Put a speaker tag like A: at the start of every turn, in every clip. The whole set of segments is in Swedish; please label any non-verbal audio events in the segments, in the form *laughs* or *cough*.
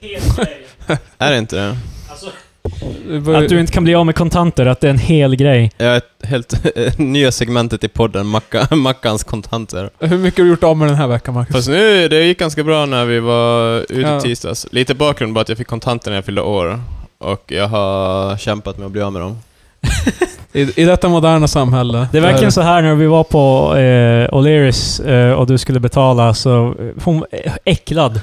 A: hel
B: *laughs*
A: grej.
B: Är det inte det?
A: Alltså,
C: Att du inte kan bli av med kontanter, att det är en hel grej.
B: Jag är helt *laughs* nya segmentet i podden, Macka, *laughs* Mackans kontanter.
D: Hur mycket har du gjort av med den här veckan, Marcus?
B: Fast nu, det gick ganska bra när vi var ute
D: Ja.
B: tisdags. Lite bakgrund bara att jag fick kontanter när jag fyllde år. Och jag har kämpat med att bli av med dem.
D: I, I detta moderna samhälle.
C: Det är verkligen så här när vi var på eh, O'Learys eh, och du skulle betala, så eh, hon eh, äcklad.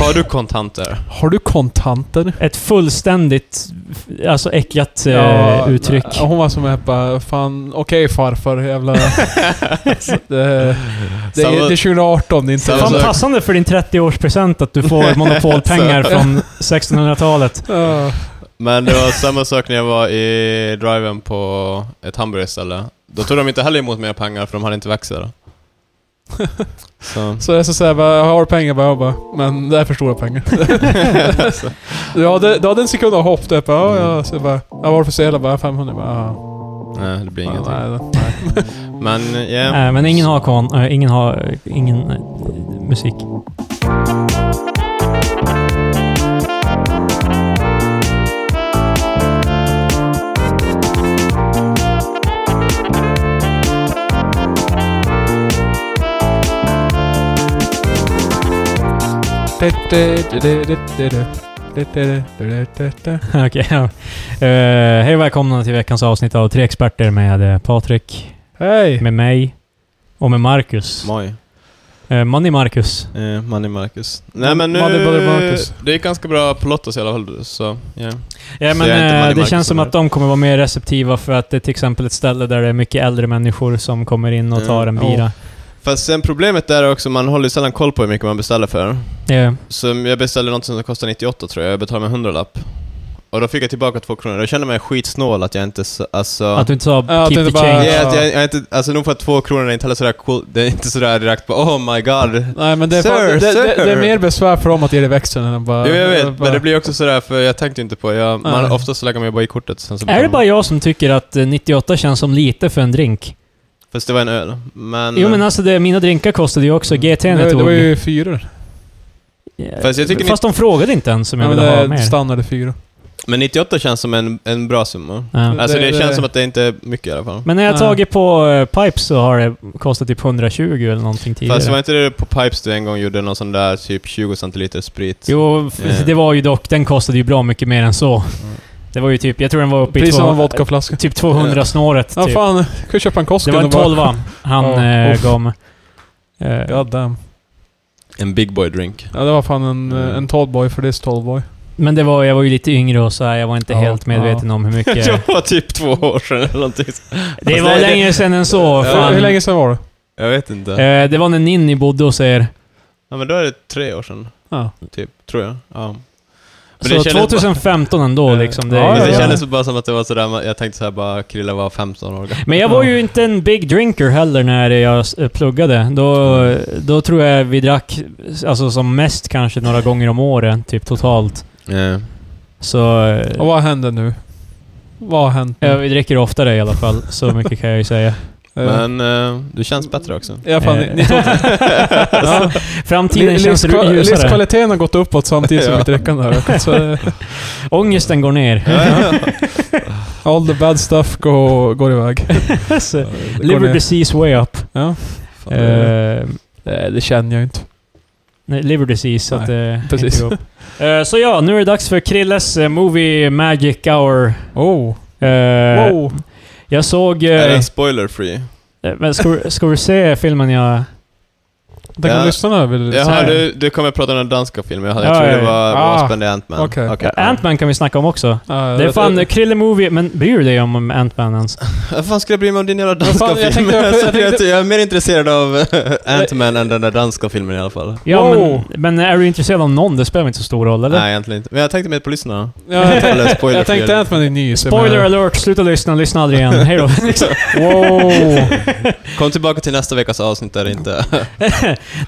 B: Har du
C: *laughs*
B: kontanter?
D: Har du kontanter?
C: Ett fullständigt, f- alltså äcklat eh, uttryck.
D: nej, Hon var som är bara, fan, okej farfar, jävla... det, det,
B: Samma-
D: är, det är 2018, det är inte...
B: Samma
C: Fan
B: sak.
C: passande för din 30-årspresent att du får
B: *laughs*
C: monopolpengar
B: Så.
C: från 1600-talet.
D: Ja.
B: Men det var samma sak när jag var i driven på ett hamburgerställe. Då tog de inte heller emot mer pengar för de hade
C: *laughs*
B: inte växlar. Så.
D: Så jag ska säga, bara, jag har pengar bara, jag bara, men det är för stora pengar. du, hade, du hade en sekund av hopp, du bara, ja, ja, så jag bara, ja, varför ser jag bara 500? Jag Bara, ja,
B: Nej, det blir
D: ja,
B: ingenting.
D: nej, nej.
B: Men ja,
C: Nej, men ingen har kon, eh, ingen har, eh, ingen eh, musik. *laughs* Okej, ja. Eh, Hej och välkomna till veckans avsnitt av Tre Experter med eh, Patrik,
D: Hej!
C: med mig och med Marcus.
B: moj.
C: Eh, Money Marcus.
B: Eh, Money Marcus. Nej men nu...
D: Money, Money Marcus.
B: Det gick ganska bra på Lottos i alla fall, så ja.
C: Ja,
B: Så
C: men,
B: jag är inte Money
C: eh, det
B: Marcus
C: känns som
B: eller?
C: att de kommer vara mer receptiva för att det är till exempel ett ställe där det är mycket äldre människor som kommer in och
B: Mm.
C: tar en bira.
B: Fast sen problemet där är också, man håller ju sällan koll på hur mycket man beställer för.
C: Eh,
B: Så jag beställde något som kostade 98 tror jag, jag betalade med 100 lapp. Och då fick jag tillbaka två kronor, då kände jag mig skitsnål att jag inte... s- Alltså...
C: Att du inte sa
D: Ja,
C: keep
D: att du
C: the
D: inte bara-
C: change.
B: Ja, att jag, jag är inte, alltså nog för att två kronor är inte heller sådär cool, det är inte sådär direkt på oh my god.
D: Nej men det är,
B: Sir,
D: fan, det, det,
B: sir.
D: det är mer besvär för dem att ge dig växeln än att bara...
B: Jo jag vet,
D: bara,
B: men det blir också sådär för jag tänkte inte på, jag, man,
D: Nej.
B: oftast så lägger man ju bara i kortet sen så
C: Är det bara jag som tycker att eh, 98 känns som lite för en drink?
B: Fast det var en öl. Men...
C: Jo men alltså det, mina drinkar kostade ju också. GT
D: det,
C: jag
D: var- det var
C: tog.
D: ju fyra.
C: Eh,
B: Mm. Fast jag tycker ni-
C: Fast de frågade inte ens om jag
D: Ja, men
C: ville ha
D: det
C: mer.
D: är standard i fyra.
B: Men 98 känns som en, en bra summa.
C: Ja.
B: Alltså det,
D: Det- det-
B: känns som att det inte är mycket i alla fall.
C: Men när jag
D: Ja.
C: tagit på eh, Pipes så har det kostat typ 120 eller någonting tidigare.
B: Fast var inte det på Pipes du en gång gjorde någon sån där typ 20 centiliter sprit?
C: Jo, f-
B: Ja.
C: det var ju dock, den kostade ju bra mycket mer än så. Det var ju typ, jag tror den var uppe i
D: Precis som en
C: 200,
D: vodkaflaska.
C: typ 200 snåret.
D: Ja
C: Typ.
D: fan, kan du köpa en Cosco?
C: det var en
D: och bara-
C: tolva han
D: Ja,
C: eh,
D: uff.
C: gav mig. Eh,
D: God damn.
B: En big boy *laughs* drink.
D: Ja det var fan en,
B: Mm.
D: en tallboy för this tallboy.
C: Men det var, jag var ju lite yngre och så här, jag var inte
D: Ja,
C: helt medveten om hur mycket...
B: jag var typ två år sedan eller någonting.
C: det
B: Fast
C: var
B: det-
C: längre sedan än så.
B: Ja,
C: Fan.
D: Hur länge sedan var det?
B: Jag vet inte.
C: Eh, det var när Ninni bodde hos er.
B: Ja men då är det tre år sedan,
D: Ja.
B: typ, tror jag. Ja. Men det
C: Så
B: kändes bara-
C: 2015 ändå
B: Eh,
C: liksom. Det,
D: ja,
B: Men det
D: ja.
B: kändes bara som att det var sådär, man- jag tänkte såhär bara, Krille var 15 år gammal.
C: Men jag var ju inte en big drinker heller när jag s- pluggade. Då, då tror jag vi drack, alltså som mest kanske några gånger om året, typ totalt. Så... eh,
D: Och vad hände nu? Vad har hänt nu?
C: Ja, vi dricker oftare i alla fall. Så mycket kan jag ju säga.
D: Eh,
B: Men eh, du känns bättre också.
D: Ja fan,
C: Eh. *laughs*
B: *laughs*
D: ni, ni tog... ja.
C: Framtiden
D: Li-
C: känns
D: livskva-
C: ljusare.
D: Livskvaliteten har gått uppåt samtidigt som
B: Ja.
D: mitt drickande
C: *laughs*
D: har ökat. Så eh,
C: Ångesten går
B: *laughs*
C: ner.
D: all the bad stuff go, går iväg.
C: *laughs* Så,
D: Det går
C: liver
D: ner.
C: disease way up.
D: Ja.
B: Eh,
C: Eh,
D: Nej, det känner jag inte.
C: nej, liver disease, så att det
D: precis.
C: *laughs* inte går upp. Eh, Så ja, nu är det dags för Krilles eh, Movie Magic Hour.
D: Oh.
C: Eh,
D: Wow.
C: Jag såg...
B: Är
C: eh,
B: den spoiler free?
C: eh, Men ska, du- ska du se filmen jag...
D: Den kan
B: Ja.
D: lyssna nu.
C: så
B: Jaha,
C: här.
B: du, du kommer prata om den danska filmen, jag, jag
C: Ja,
B: tror
C: ja,
B: det var
D: ja. Ah.
B: Waspen, det är Ant-Man.
D: Okej.
B: ja.
C: Ant-Man kan vi snacka om också. Det är fan eh, Krille Movie, men bryr du dig om Ant-Man ens?
B: Vad fan ska jag bry mig om din jävla
D: Vad
B: danska
D: fan,
B: film?
D: jag tänkte- jag
B: Så
D: tänkte-
B: jag, jag är mer intresserad av eh,
C: *laughs*
B: Ant-Man än den där danska filmen i alla fall.
C: Ja,
D: Wow.
C: men, men är du intresserad av någon? Det spelar inte så stor roll, eller?
B: Nej, egentligen inte. Men jag tänkte mer på lyssnarna.
C: *laughs*
D: Ja, jag,
B: Eller
D: tänkte,
B: spoiler
D: jag tänkte
B: free.
D: Ant-Man är ny. så jag
C: Spoiler
D: menar-
C: alert, sluta lyssna, lyssna aldrig igen.
B: *laughs*
C: Hej då.
D: Wow.
C: *laughs*
B: Kom tillbaka till nästa veckas avsnitt där det inte...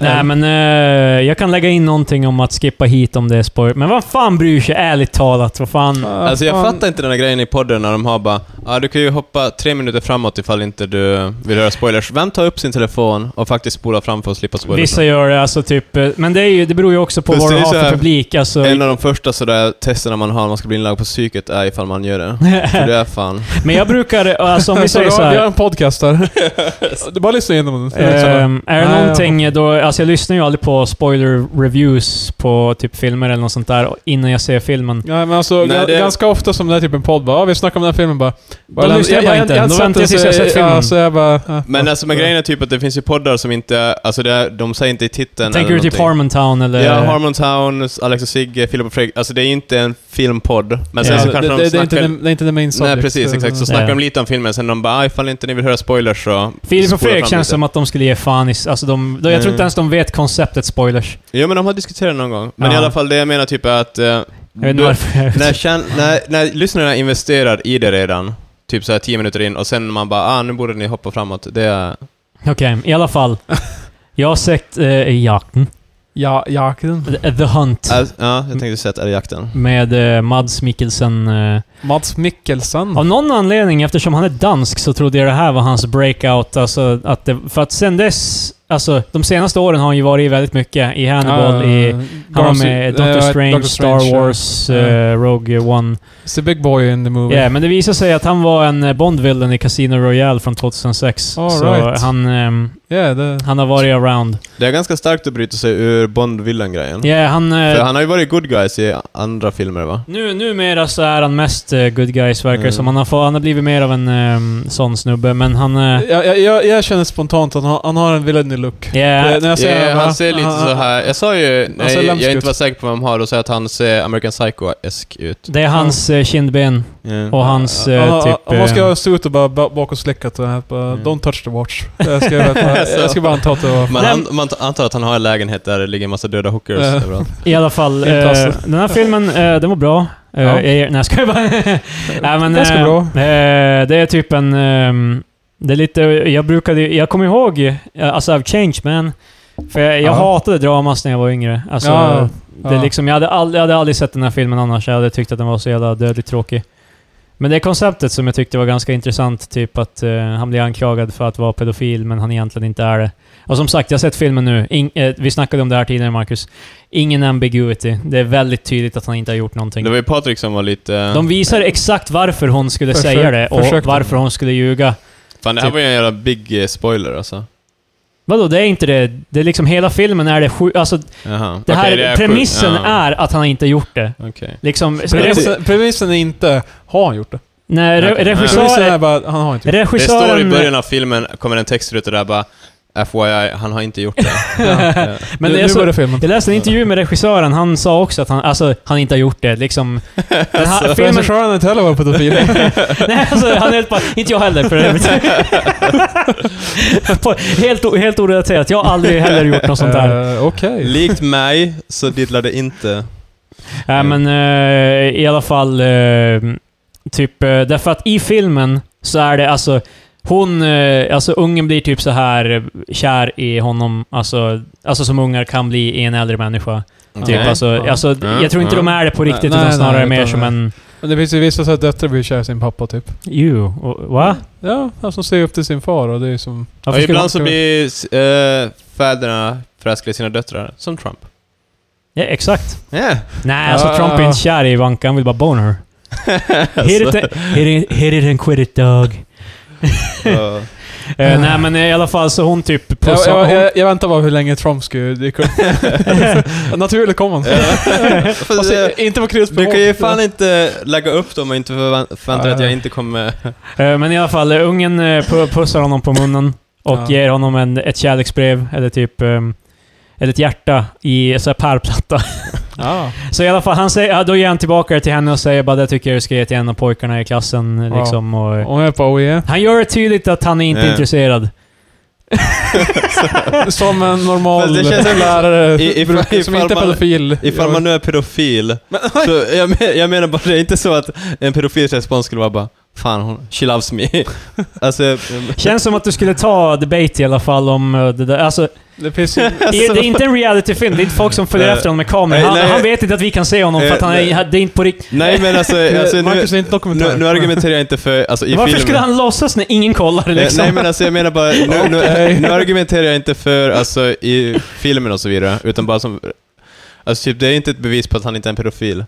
C: Nej men eh, jag kan lägga in någonting om att skippa hit om det är spoiler. Men vad fan bryr sig ärligt talat? Vad fan?
B: Alltså jag fattar inte den här grejen i podden när de har bara ah, du kan ju hoppa tre minuter framåt ifall inte du vill höra spoilers. Vem tar upp sin telefon och faktiskt spolar fram för att slippa spoilers?
C: Vissa gör det, alltså typ... eh, Men det, är ju, det beror ju också på
B: Fast
C: vad
B: det
C: du
B: är
C: har
B: så
C: för
B: här-
C: publik. Alltså,
B: En av de första sådär testerna man har när man ska bli inlagd på psyket är ifall man
C: *laughs*
B: gör det. För det är fan...
C: *laughs* men jag brukar... Alltså
B: *laughs*
C: om vi säger
D: vi,
C: så
D: har, vi har
C: här,
D: en podcast här. Du bara lyssna igenom den.
C: ehm, Är det
D: Nej,
C: någonting då... Alltså jag lyssnar ju aldrig på spoiler reviews på typ filmer eller något sånt där innan jag ser filmen.
D: Nej men alltså,
B: Nej,
D: ga-
B: det-
D: ganska ofta som den här typen podd bara, "Ja, vi snackar om den här filmen bara. bara
C: Då
D: lämna-
C: lyssnar jag bara inte. Då
D: satt
C: väntar jag
D: och
C: tills jag
D: så-
C: sett filmen.
D: alltså, Ja, så jag bara... ja.
B: Men alltså men grejen är typ att det finns ju poddar som inte, alltså det är, de säger inte i titeln
C: Tänker
B: eller
C: du typ
B: någonting.
C: Harmontown eller...
B: Ja, Harmon Town, Alex och Sigge, Filip och Fredrik. Alltså det är ju inte en filmpodd. Men sen
C: Ja,
B: så
D: det,
B: kanske
D: det,
B: de
D: det, är inte,
B: snackar...
D: den- det är inte den main subject.
B: Nej precis,
D: så-
B: exakt. Så
D: så-
B: snackar
C: Ja.
B: de lite om filmen, sen de bara "Ah, ifall inte ni vill höra spoilers så...
C: Filip
B: spola
C: och Fredrik
B: fram
C: känns
B: lite."
C: som att de skulle ge fan i... Alltså de, de, jag tror
B: Mm.
C: inte ens de vet konceptet spoilers.
B: Jo men de har diskuterat det någon gång. Men
C: Ja.
B: i alla fall det jag menar typ är att... eh,
C: Jag vet inte
B: du-
C: varför
B: *laughs*
C: jag...
B: när, kän, när, när lyssnarna investerar i det redan, typ såhär 10 minuter in, och sen man bara ah nu borde ni hoppa framåt. Det är...
C: *laughs* Okej, i alla fall. Jag har sett eh, Jakten.
D: Ja, jakten.
C: The, The Hunt.
B: Alltså, ja, jag tänkte säga att det är jakten.
C: Med eh, Mads Mikkelsen. Eh.
D: Mats Mikkelsen.
C: Mm. Av någon anledning, eftersom han är dansk, så trodde jag det här var hans breakout. Alltså, att det, för att sen dess... Alltså, de senaste åren har han ju varit i väldigt mycket. I Hannibal,
D: Ah,
C: i... Han var
D: Garci-
C: med i
D: eh,
C: Doctor Strange, Star
D: ja.
C: Wars,
D: Ja.
C: eh, Rogue One.
D: It's a big boy in the
C: Ja,
D: movie.
C: men det visar sig att han var en eh, Bond-villain i Casino Royale från 2006.
D: All
C: så
D: right.
C: han, ehm,
D: Yeah, det...
C: han har varit around.
B: Det är ganska starkt att bryta sig ur Bond-villan-grejen.
C: Ja, han... eh,
B: Mm. För han har ju varit good guys i andra filmer va?
C: Nu, numera så är han mest eh, good guys, verkar det
B: Mm.
C: som. Han har, få, han har blivit mer av en ehm, sån snubbe, men han... eh,
D: Jag, jag- jag, jag känner spontant att han har, han har en villainy look.
C: yeah.
D: Eh, när jag ser
B: Ja,
D: honom bara,
B: han ser lite så här. Jag sa ju, nej,
D: ser
B: jag
D: lömsk
B: inte
D: ut.
B: var säker på vem han har, och sa jag att han ser American Psycho-esk ut.
C: Det är hans eh, kindben
B: Ja.
C: och hans
D: Han,
C: eh,
D: han,
C: typ...
D: han ska
C: eh,
D: stå ut och bara ba- bak och slicka till det här. Bara,
B: Mm.
D: Don't touch the watch. Jag
B: *laughs*
D: ska, jag, jag ska bara anta att det var...
B: Man, an, man antar att han har en lägenhet där det ligger en massa döda hookers
D: Ja.
B: överallt.
C: I alla fall, eh,
D: Intressant.
C: den här filmen, eh, den var bra. Eh,
D: Ja.
C: jag, nej, jag skojar bara. *laughs* nej, men,
D: Ganska
C: eh,
D: bra.
C: Eh, det är typ en... ehm, det är lite... Jag brukade ju- Jag kommer ihåg... eh, Alltså, I've changed man. För jag, jag
D: Ja.
C: hatade dramas när jag var yngre. Alltså,
D: Ja,
C: Det är
D: ja.
C: liksom, jag, hade all, jag hade aldrig sett den här filmen annars. Jag hade tyckt att den var så jävla dödligt tråkig. Men det är konceptet som jag tyckte var ganska intressant. Typ att eh, han blir anklagad för att vara pedofil, men han egentligen inte är det. Och som sagt, jag har sett filmen nu. Ing- eh, vi snackade om det här tidigare, Marcus. Ingen ambiguity. Det är väldigt tydligt att han inte har gjort någonting.
B: Det var ju Patrik som var lite... eh,
C: De visar exakt varför hon skulle
D: Försök-
C: säga det och
D: försökte.
C: varför hon skulle ljuga.
B: fan det här
C: typ-
B: var ju en jävla big eh, spoiler alltså.
C: Vadå, det är inte det. Det är liksom hela filmen är det sju... Alltså,
B: Jaha.
C: det här,
B: Okej, är
C: premissen
B: sjukt. Ja,
C: är att han inte gjort det.
B: okej.
C: Liksom,
D: Premissen, premissen är inte, har han gjort det?
C: nej, re-
B: Okej.
D: Premissen
C: regissören,
D: är bara, han har inte gjort
B: Typ. Det
C: regissören...
B: står i
C: *laughs*
B: början av filmen, kommer en textruta där bara FYI, han har inte gjort det. Ja.
C: Men
D: det.
C: det är
D: nu
C: så,
D: börjar filmen.
C: jag läste en
D: *laughs*
C: intervju med regissören, han sa också att han, alltså, han inte har gjort det.
B: *laughs*
C: Liksom, den
B: Alltså.
C: här, filmen,
D: Regissören har inte heller varit pedofil.
C: *laughs* nej, alltså, han är helt bara, inte jag heller för
B: *laughs*
C: övrigt. På- helt, o- helt orelaterat, jag har aldrig heller gjort något sånt där.
D: Eh,
B: *laughs*
D: Okej.
B: Likt mig så diddlade inte...
C: Nej men eh, i alla fall, eh, typ, eh, därför att i filmen så är det alltså, hon, eh, alltså ungen blir typ så här eh, kär i honom, alltså, alltså som ungar kan bli i en äldre människa. Typ,
B: Okej.
C: alltså,
D: Ja.
C: alltså,
B: Ja,
C: jag tror inte
B: ja.
C: de är det på
D: Nej,
C: riktigt,
D: nej,
C: utan
D: nej,
C: snarare
D: utan-
C: mer som en...
D: Men det finns ju vissa så att döttrar blir kära i sin pappa typ.
C: You, va?
D: Ja, han som ser upp till sin far och det är som...
B: Ja,
C: Varför skulle
B: ibland
C: man-
B: så blir eh, fäderna förälskade i sina döttrar, som Trump.
C: Ja, exakt.
B: Yeah.
C: Nej, alltså
D: Ja,
C: Trump är
D: ja.
C: inte kär i Ivanka, han vill bara
D: *laughs*
C: boner. hit, it,
D: Alltså.
C: hit, it, hit it and quit it dog. *laughs*
B: Ja.
C: Eh, nej men i alla fall så hon typ
D: Jag,
C: pussar...
D: jag,
C: hon-
D: jag, jag väntar bara hur länge Trump skulle *laughs* dyka upp. Naturligt kom han.
B: Fast,
D: Fast,
B: eh,
D: eh, inte på Chris
B: Du kan ju fan inte lägga upp dem och inte förvä- förvänta dig att jag inte kommer...
C: Eh, Men i alla fall, eh, ungen eh, pu- pussar honom på munnen och
D: Ja.
C: ger honom en, ett kärleksbrev, eller typ... ehm, Eller ett hjärta i så här pärlplatta.
D: Ja.
C: *laughs* Så i alla fall, han säger, ja, då ger han tillbaka det till henne och säger bara det tycker jag du ska ge till en av pojkarna i klassen. eh,
D: Ja.
C: Liksom, och,
D: Om jag bara oh yeah.
C: han gör det tydligt att han är inte
B: Ja.
C: intresserad.
D: Som en normal
B: Fast det känns som-
D: lärare
B: i- ifall-
D: brukar- som
B: ifall
D: inte är
B: man-
D: pedofil.
B: Ifall man nu är pedofil, så jag, men, jag menar bara, det är inte så att en pedofils respons skulle vara bara Fan, hon, she loves me. *laughs* alltså, eh,
C: Känns som att du skulle ta debate i alla fall om eh, det där. Alltså,
D: Det finns ju...
C: det
B: alltså,
C: är det är inte en realityfilm. Det är inte folk som följer
B: Nej.
C: efter honom med kameror.
B: Eh, Nej,
C: Han,
B: nej.
C: han vet inte att vi kan se honom för att han
B: Eh,
C: är, det är inte på riktigt.
B: nej men *laughs*
C: Eh,
B: alltså, alltså nu,
D: Marcus är inte dokumentär.
B: nu, nu argumenterar jag inte för... Alltså, i
C: Varför
B: filmen.
C: skulle han låtsas när ingen kollar
B: Eh,
C: liksom?
B: Nej men alltså jag menar bara, nu,
C: *laughs*
B: nu,
D: Okej.
B: nu argumenterar jag inte för alltså, i filmen och så vidare, utan bara som... Alltså typ, det är inte ett bevis på att han inte är en pedofil.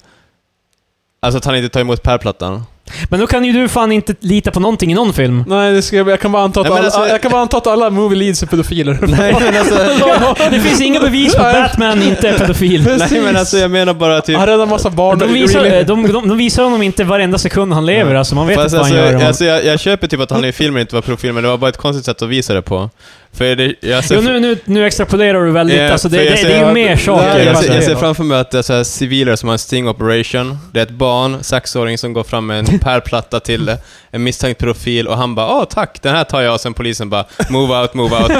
B: Alltså att han inte tar
C: *laughs*
B: emot pärlplattan.
C: Men då kan ju du fan inte lita på någonting i någon film.
D: Nej, det ska, jag jag kan bara anta att
B: Nej, men
D: alla,
B: alltså-
D: jag kan bara anta att alla movie leads är pedofiler. *laughs*
B: Nej men alltså...
C: *laughs* Det finns inga bevis på att
D: Nej.
C: Batman inte är pedofil.
B: *laughs*
D: Precis.
B: Nej men alltså jag menar bara typ...
D: Han räddar en massa barn.
C: De
D: really.
C: visar, de, de, de visar honom inte varenda sekund han lever, alltså man vet
B: Fast
C: inte vad
B: alltså,
C: han gör. om han-
B: alltså, jag, jag köper typ att han i filmen inte var profil, men det var bara ett konstigt sätt att visa det på. För det, alltså,
C: Jo, nu, nu, nu extrapolerar du väldigt,
B: Eh,
C: alltså det,
B: för jag
C: det, det
B: ser-
C: är ju mer
B: Nej,
C: saker. alltså.
B: jag,
C: man
B: ser, jag
C: säger.
B: ser framför mig att det är så här civiler som har en sting operation. Det är ett barn, sexåring, som går fram med
C: *laughs*
B: en pärlplatta till en misstänkt profil och han bara ”Åh, tack, den här tar jag” och sen polisen bara ”Move
C: *laughs*
B: out, *laughs* move out”.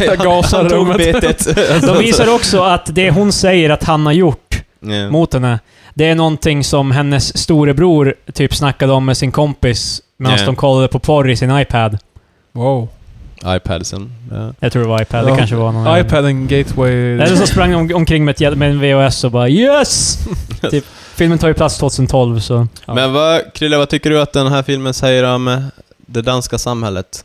D: Jag gasar
B: han tog
D: rummet.
B: betet.
C: De visar också att det hon säger att han har gjort
D: Mm.
B: Ja.
C: mot henne, det är någonting som hennes storebror typ snackade om med sin kompis medan
B: Ja.
C: de kollade på porr i sin iPad.
D: Wow.
B: Ipadsen. Ja.
C: Jag tror det var iPad,
D: Ja.
C: det kanske var någon...
D: iPad and gateway...
C: Eller så sprang de om, omkring med, ett, jä- med en VHS och bara
D: *laughs*
C: ”Yes!” typ, Filmen tar ju plats 2012, så... Ja.
B: Men vad, Krille, vad tycker du att den här filmen säger om eh, det
C: *laughs*
B: danska samhället? *laughs*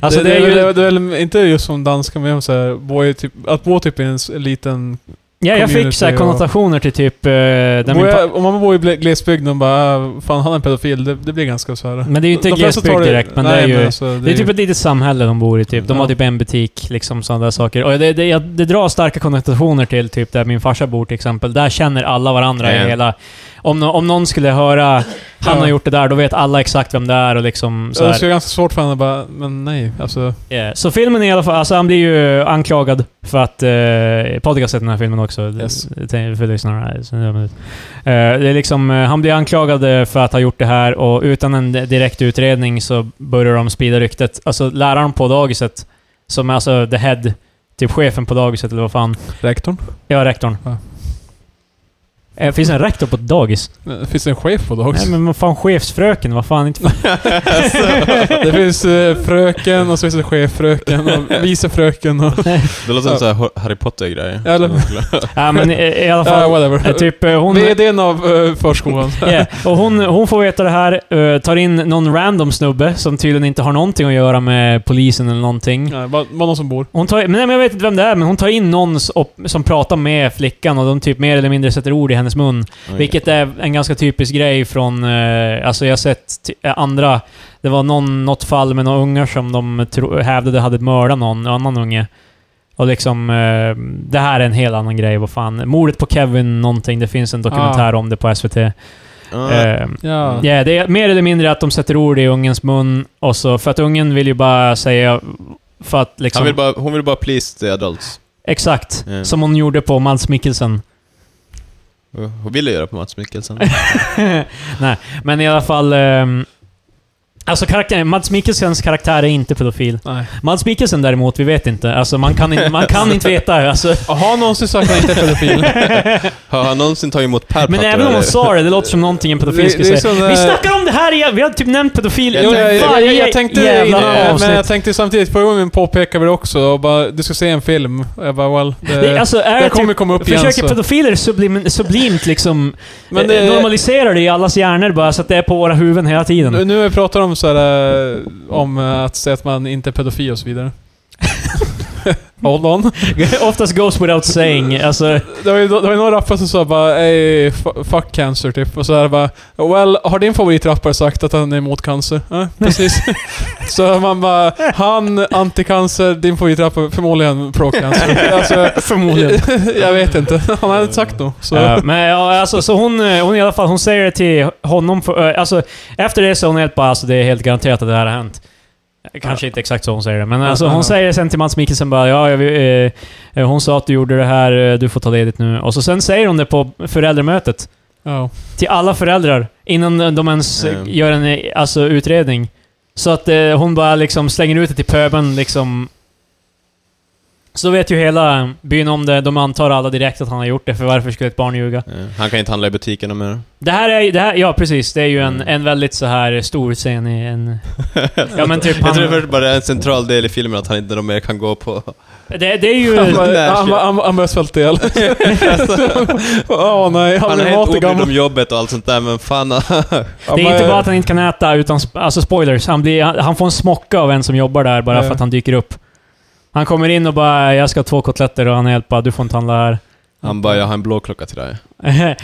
C: Alltså
D: det,
C: det, är ju...
D: det, det är väl inte just som danska, men så här, bo typ, att bo typ i en s- liten...
C: ja, jag fick så här
D: community och-
C: konnotationer till typ... eh, där
D: Bo
C: min pa-
D: jag, om man bor i ble- glesbygden och bara äh, fan han är en pedofil, det, det blir ganska så här.
C: men det är ju inte
D: De flesta
C: glesbygd
D: tar det-
C: direkt, men
D: nej,
C: det är ju...
D: alltså, det,
C: Det är typ ett litet samhälle de bor i, typ. De har
D: Ja.
C: typ en butik, liksom sådana där saker. Och det, det, jag- det drar starka konnotationer till typ där min farsa bor till exempel. Där känner alla varandra
B: Ja.
C: i hela... Om, nå- om någon skulle höra han har
D: Ja.
C: gjort det där, då vet alla exakt vem det är och liksom så
D: så det
C: här.
D: skulle vara ganska svårt för henne att bara, men nej, alltså.
C: Eh, Så filmen i alla fall, alltså han blir ju anklagad för att... Eh, Patrik har sett den här filmen också.
D: Yes.
C: Jag tänkte- För lyssnarna. här, så jag vet. Eh, det är liksom, eh, han blir anklagad eh, för att ha gjort det här och utan en direkt utredning så börjar de sprida ryktet. Alltså läraren på dagiset, som är alltså the head, typ chefen på dagiset eller vad fan.
D: Rektorn?
C: Ja, rektorn.
D: Ja.
C: Eh, Finns det en rektor på ett dagis?
D: Eh, Finns det en chef på
C: Nej
D: dagis?
C: men vad fan, chefsfröken, vad fan inte...
D: *laughs*
B: Alltså.
D: det finns eh, fröken och så finns det cheffröken
C: *laughs*
D: och vice fröken och...
B: Det låter som så här Harry Potter-grejer. *laughs* Oh
D: Eller-
C: Nej men i, i alla
D: Ja,
C: fall. eh,
D: whatever.
C: typ eh, hon...
D: VDn av eh, förskolan.
C: Ja, Och hon, hon får veta det här, eh, tar in någon random snubbe som tydligen inte har någonting att göra med polisen eller någonting.
D: Nej, bara, bara någon som bor.
C: Hon tar, men nej, men jag vet inte vem det är, men hon tar in någon s- och- som pratar med flickan och de typ mer eller mindre sätter ord i hennes mun. Vilket är en ganska typisk grej från... Eh, alltså jag har sett ty- eh, andra... Det var någon, något fall med några ungar som de tro, hävdade hade mördat någon annan unge. Och liksom... Eh, det här är en helt annan grej, vad fan. Mordet på Kevin någonting, det finns en dokumentär om det på SVT.
B: Ja.
C: Eh,
D: Ja.
C: Ja, det är mer eller mindre att de sätter ord i ungens mun och så, för att ungen vill ju bara säga för att liksom...
B: Han vill bara, hon vill bara please the adults.
C: Exakt.
B: Ja.
C: Som hon gjorde på Mads Mikkelsen.
B: Hon ville göra på Mats Mikkelsen.
C: *laughs* Nej, men i alla fall... ehm, alltså karaktär, Mads Mikkelsens karaktär är inte pedofil.
D: Nej.
C: Mads Mikkelsen däremot, vi vet inte. Alltså man kan inte, man kan inte veta.
D: *laughs*
C: Alltså.
D: Har någonsin sagt att han inte är pedofil?
B: Har han någonsin tagit emot pärlplattor?
C: Men även om hon
B: eller?
C: sa det, det låter som någonting en pedofil skulle
D: Det- det är
C: säga.
D: som, eh,
C: Vi snackar om det här igen! Vi har typ nämnt pedofil
B: Jag
C: i
B: tänkte-
C: varje
D: jag, jag, jag tänkte
C: jävla
D: innan,
C: avsnitt.
D: men jag tänkte samtidigt, förra gången påpekade vi det också och bara, du ska se en film. Och jag bara, well, det,
C: det, alltså, är
D: eh, det
C: det
D: kommer komma upp igen.
C: Försöker
D: Så.
C: pedofiler sublim, sublimt liksom
D: Men
C: men
D: det-
C: normalisera det i allas hjärnor bara så att det är på våra huvuden hela
D: Nu,
C: tiden?
D: nu pratar de så här, eh, om eh, att säga att man inte är pedofil och så
C: *laughs*
D: vidare. Hold on.
C: *laughs* Oftast goes without saying. Alltså,
D: Det var ju, det var ju några rappare som sa bara ey, f- fuck cancer typ. Och så här bara, well, har din favoritrappare sagt att han är emot cancer? Ja,
C: *laughs*
D: precis. så man bara, han anticancer, din favoritrappare
C: *laughs*
D: förmodligen pro-cancer. alltså,
C: förmodligen.
D: *laughs* jag vet inte. Han har inte sagt något. Så.
C: Ja, men ja, alltså, så hon, eh, hon i alla fall, hon säger det till honom. För, eh, alltså, efter det så är hon helt bara, alltså det är helt garanterat att det här har hänt. Kanske inte exakt så hon säger det, men alltså,
D: ja, ja.
C: hon säger sen till Mats Mikkelsen bara ja, jag, vill, eh, hon sa att du gjorde det här, eh, du får ta ledigt nu. Och så sen säger hon det på föräldramötet.
D: Ja.
C: till alla föräldrar innan de ens
B: Mm.
C: gör en eh, alltså, utredning. Så att eh, hon bara liksom slänger ut det till pöbeln liksom. Så vet ju hela byn om det, de antar alla direkt att han har gjort det, för varför skulle ett barn ljuga?
B: Ja, Eh, Han kan inte handla i butikerna mer.
C: Det här är ju- det här, ja precis, det är ju en,
B: Mm.
C: en väldigt så här stor scen i en... Ja men typ
B: *laughs* Jag tror
C: han...
B: först bara det är en central del i filmen att han inte de mer kan
C: *laughs*
B: gå på...
C: Det, det är
D: *laughs*
C: ju...
D: Han, bara-
B: Nej,
D: han,
B: shit.
D: han, han börjar
B: *laughs*
D: svälta ihjäl. Åh nej, han
B: Han är
D: blir
B: helt
D: matig
B: obrydd
D: gammal.
B: om jobbet och allt sånt där, men fan...
C: Det är inte bara att han inte kan äta, utan... sp- Alltså spoilers. Han, blir, han, han får en smocka av en som jobbar där bara
D: Ja.
C: för att han dyker upp. Han kommer in och bara “Jag ska ha två kotletter” och han är helt bara “Du får inte handla här”.
B: Han bara, jag har en blå klocka till dig.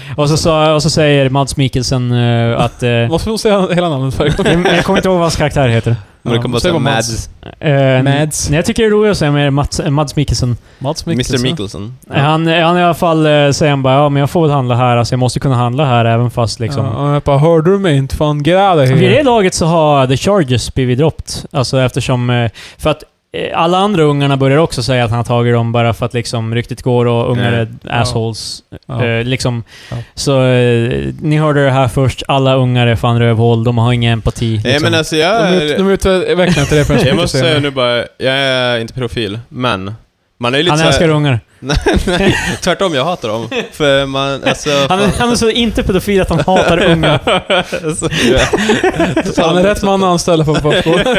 C: *laughs* och, så, sa- och så säger Mads Mikkelsen eh, att... eh,
B: *laughs*
D: Måste vi säga hela namnet för
C: *laughs* jag, jag kommer inte ihåg vad hans karaktär heter.
B: Men det kommer bara
D: säg
B: säga
D: vad Mads-
B: Mads,
C: Eh,
D: Mads.
C: Nej, jag tycker det är roligt att säga mer Mats, eh, Mads Mikkelsen. Eh,
D: Mats
B: Mr
D: Mikkelsen.
B: Mikkelsen.
C: Han, han i alla fall eh, säger han bara “Ja, men jag får väl handla här. Alltså, jag måste kunna handla här även fast liksom...”
D: Ja, och jag bara, hörde du mig inte? Fan, get out of
C: Vid det
D: here.
C: laget så har The Charges blivit droppt. Alltså eftersom... eh, För att eh, alla andra ungarna börjar också säga att han har tagit dem bara för att liksom ryktet går och ungar
B: Nej.
C: är assholes.
D: Ja.
C: Eh, liksom.
D: Ja.
C: Så eh, ni hörde det här först. Alla ungar är fan rövhål. De har ingen empati. Liksom.
B: Nej men alltså jag...
D: De ut- de utvecklar inte det förrän
B: Jag
D: mycket
B: måste
D: senare.
B: säga nu bara, jag är inte profil, men... Man är ju lite
C: han
B: så här-
C: älskar ungar.
B: *laughs* Nej, nej, tvärtom. Jag hatar dem. För man, alltså...
C: Han, är- han är så inte pedofil att han hatar
D: *laughs*
C: ungar.
B: alltså, ja.
D: Han är rätt man att anställa
B: *laughs*
D: på Popcorn.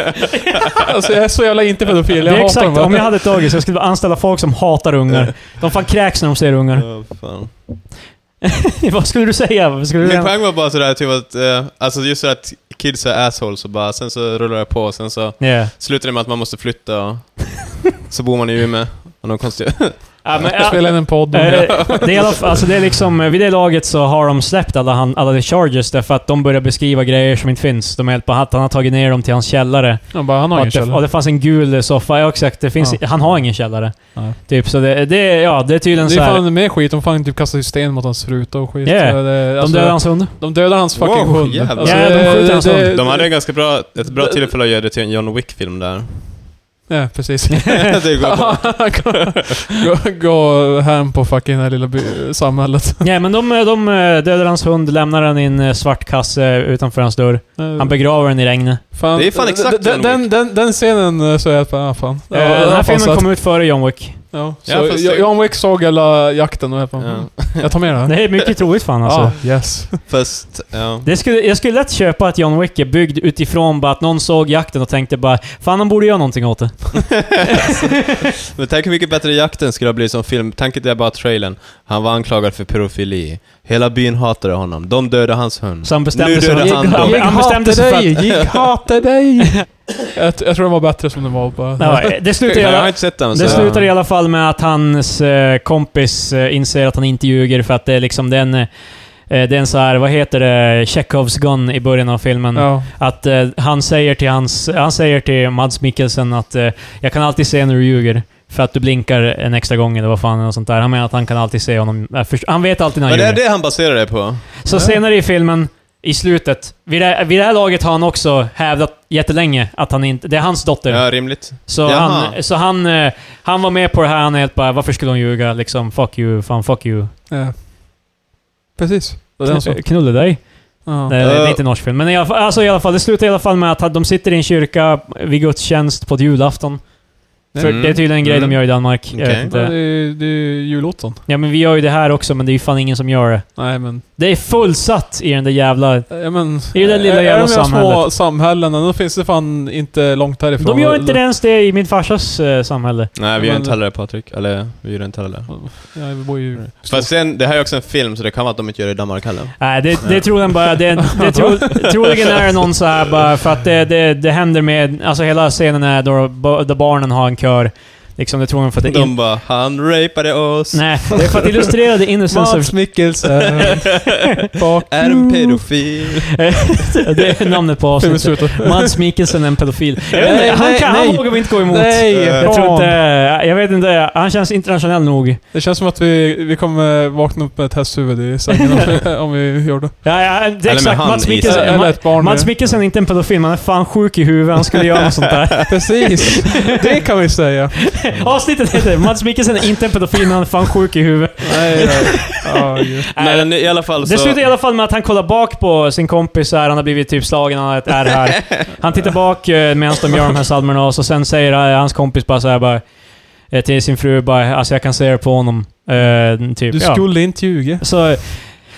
D: alltså jag är så jävla inte pedofil,
C: Det
D: jag
C: är
D: hatar
C: exakt.
D: dem.
C: Om jag hade ett dagis, jag skulle anställa folk som hatar ungar. De fan kräks när de ser ungar.
B: Ja, fan.
C: *laughs* Vad skulle du säga? Vad Skulle du
B: Min
C: säga?
B: poäng var bara sådär typ att, eh, alltså just så att kids är assholes och bara, sen så rullar det på och sen så
C: Yeah.
B: slutar det med att man måste flytta
C: *laughs*
B: och så bor man i Umeå. Och någon konstig...
C: Ja, men,
D: Jag spelar in en podd.
C: Eh,
D: om-
C: det, är i alla fall- alltså det är liksom, eh, vid det laget så har de släppt alla, han, alla the charges därför att de börjar beskriva grejer som inte finns. De är helt på hatt. Han har tagit ner dem till hans källare.
D: Han bara, han har
C: Och
D: ingen
C: att det, och
D: källa.
C: det fanns en gul soffa. Ja, exakt. Det finns,
D: Ja.
C: Han har ingen källare.
D: Nej.
C: Typ, så det, det, är- ja, det är
D: Det
C: tydligen
D: är
C: så här.
D: fan mer skit, de fan typ kastar ju sten mot hans ruta och skit.
C: Yeah.
D: Så det-
C: de
D: alltså,
C: dödar hans
D: *laughs*
C: hund.
D: de dödar hans fucking
B: Wow,
D: hund. Alltså,
B: jävlar.
C: Ja, de skjuter hans hund.
B: *laughs* De hade ju ganska bra, ett bra tillfälle att göra det till en John
C: *laughs*
B: Wick-film där.
D: Ja,
B: *laughs*
D: precis.
B: det går
D: *laughs*
B: bra.
D: gå, gå hem på fucking det här lilla by- samhället.
C: Nej, men de, eh, de eh, dödar hans hund, lämnar den i en eh, svart kasse utanför hans dörr.
D: Mm.
C: Han begraver den i regnet.
D: Fan,
B: Det är fan exakt
D: den,
B: John
D: den, den, den scenen eh, så är jag bara, ah, fan.
C: Eh,
D: Ja,
C: den här
D: fan, så
C: filmen
D: att-
C: kom ut före John Wick.
D: Ja, så
B: Ja, fast det-
D: jag- John Wick såg hela jakten och jag bara, mm, jag tar med den.
C: Det är mycket troligt fan alltså.
D: Ah, yes.
B: Fast, ja.
C: Det skulle, jag skulle lätt köpa att John Wick är byggd utifrån bara att någon såg jakten och tänkte bara Fan, de borde göra någonting åt det.
B: Men tänk hur mycket bättre jakten skulle ha blivit som film. Tänk att det är bara trailern. Han var anklagad för pedofili. Hela byn hatade honom. De dödade hans hund.
C: Så han
B: Nu
C: bestämde sig
B: dödar
C: för
B: han
C: att...
B: dem.
C: Han, han bestämde sig för att...
D: jag
B: *laughs*
D: hatar dig! jag, jag tror den var bättre som den var. Bara.
C: Nej, det slutar, i
B: Jag har
C: alla,
B: inte sett den.
C: det
B: så-
C: slutar i alla fall med att hans eh, kompis eh, inser att han inte ljuger för att det är liksom den... Eh, det är en så här, vad heter det, Chekhovs gun i början av filmen.
D: Ja.
C: Att eh, han, säger till hans, han säger till Mads Mikkelsen att eh, jag kan alltid se när du ljuger. För att du blinkar en extra gång eller vad fan och sånt där. Han menar att han kan alltid se honom. eh, först- Han vet alltid när han
B: Men det
C: ljuger.
B: är det han baserar det på.
C: Så
D: Ja.
C: senare i filmen, i slutet, vid det, vid det här laget har han också hävdat jättelänge att han inte... Det är hans dotter.
B: Ja, rimligt.
C: så
B: jaha.
C: han, så han, eh, han var med på det här, han är helt bara “Varför skulle hon ljuga?” liksom “Fuck you, fan fuck you”.
D: Ja. Precis. Det är den så.
C: Kn- Knulla dig.
D: Ja.
C: Nej, det är inte en norsk film. Men i alla fall, alltså i alla fall, det slutar i alla fall med att de sitter i en kyrka vid gudstjänst på ett julafton. För
B: Mm.
C: det är tydligen en grej
B: Mm.
C: de gör i Danmark. Jag
B: Okej.
C: vet
D: Ja, Det
C: inte.
D: är, det är julotton.
C: Ja men vi gör ju det här också, men det är ju fan ingen som gör det.
D: Nej men...
C: Det är fullsatt i den där jävla...
D: Ja, men
C: I det där lilla
D: är-
C: jävla
D: är de här små
C: samhället.
D: samhällena, då finns det fan inte långt härifrån.
C: De gör inte det ens det i min farsas eh, samhälle.
B: Nej, vi
D: Men-
B: gör inte heller det Patrik. Eller, vi gör inte heller det.
D: Ja, vi bor
C: Mm.
D: ju...
B: Fast sen, det här är också en film, så det kan vara att de inte gör det i Danmark heller.
C: Nej, det, det tror den bara... Det, det tro, troligen är det någon så här bara för att det, det, det händer med... Alltså hela scenen är då, ba- då barnen har en kör. Liksom, det tror jag för att det...
B: De
C: In,
B: bara, han rapade oss.
C: nej, det är för att illustrera the innocence *laughs* of...
D: Mats *laughs* Mikkelsen. Fuck
B: Är en pedofil.
C: *laughs* det är namnet på
D: Filmen
C: avsnittet.
D: slutar.
C: Mads Mikkelsen är en pedofil. Jag vet
D: Nej,
C: inte, han,
D: nej,
C: kan,
D: nej.
C: han vågar vi inte gå emot.
D: Nej!
C: Jag tror
D: fan.
C: inte... Jag vet inte. Han känns internationell nog.
D: *laughs* Det känns som att vi, vi kommer vakna upp med ett hästhuvud i sängen om, om vi gör det.
C: Ja, ja, det är exakt.
B: han
C: *laughs* Mats
B: i
C: Mikkelsen,
B: sig.
D: Eller
C: Ma-
D: ett barn.
C: Mats Mikkelsen är inte en pedofil, men han är fan sjuk i huvudet. Han skulle göra något sånt där.
D: Precis! Det kan vi säga.
C: *laughs* Avsnittet heter Mats Mikkelsen är inte en pedofil, men han är fan sjuk i huvudet.
D: Nej, nej. Ja, gud.
B: Nej, men alltså- i alla fall så...
C: Det slutar i alla fall med att han kollar bak på sin kompis här, han har blivit typ slagen, han har ett ärr
B: *laughs*
C: eh, här. Han tittar bak medan de gör de här psalmerna och så sen säger eh, hans kompis bara såhär bara eh, till sin fru bara alltså jag kan se det på honom. Eh, typ,
D: Du
C: ja.
D: skulle inte ljuga.
C: Så,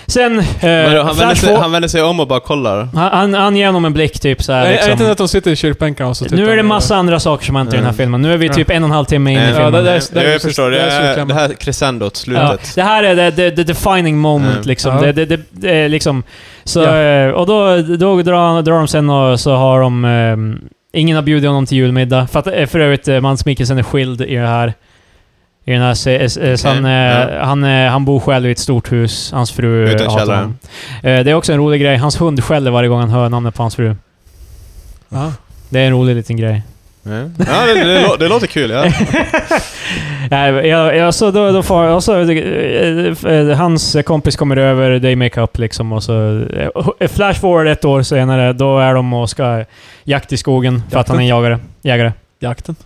C: sen... Eh,
B: Men då, han, vänder
C: Flash
B: sig,
C: for-
B: han vänder sig om och bara kollar.
C: han, han, han ger honom en blick typ så
D: Är-
C: här,
D: Är det
C: liksom.
D: inte det att de sitter i kyrkbänkarna och så tittar
C: Nu är det
D: de-
C: massa andra saker som har hänt i den här
B: Mm.
C: filmen. Nu är vi
D: Ja.
C: typ en och en halv timme in i
B: Nej,
C: filmen.
D: Ja, det- det-
B: nej,
D: det-
B: jag förstår. Det,
D: det är
B: är,
D: slutklämmen.
B: det här crescendot,
C: Ja,
B: slutet.
C: det här är the, the, the defining moment
B: Mm.
C: liksom.
D: Ja.
C: Det, det, det, det är liksom. Så,
D: Ja.
C: eh, Och då, då drar, drar de sen och så har de... ehm, ingen har bjudit honom till julmiddag. För, att, eh, för övrigt, eh, Mans Mikkelsen är skild i det här. I den här se- eh, eh, så han, eh,
B: ja.
C: han, eh, han bor själv i ett stort hus. Hans fru eh,
B: Utan
C: hatar
B: källare.
C: honom. Eh, Det är också en rolig grej. Hans hund skäller varje gång han hör namnet på hans fru.
D: Ja.
C: Det är en rolig liten grej.
B: Mm. Ja, det, det, lå- det låter kul. Ja.
C: Nej, jag, jag, så då, då far, och så, eh, eh, hans kompis kommer över, they make up liksom och så... eh, Flash forward ett år senare, då är de och ska jakt i skogen för att han är en jagare. jägare.
D: Jakten.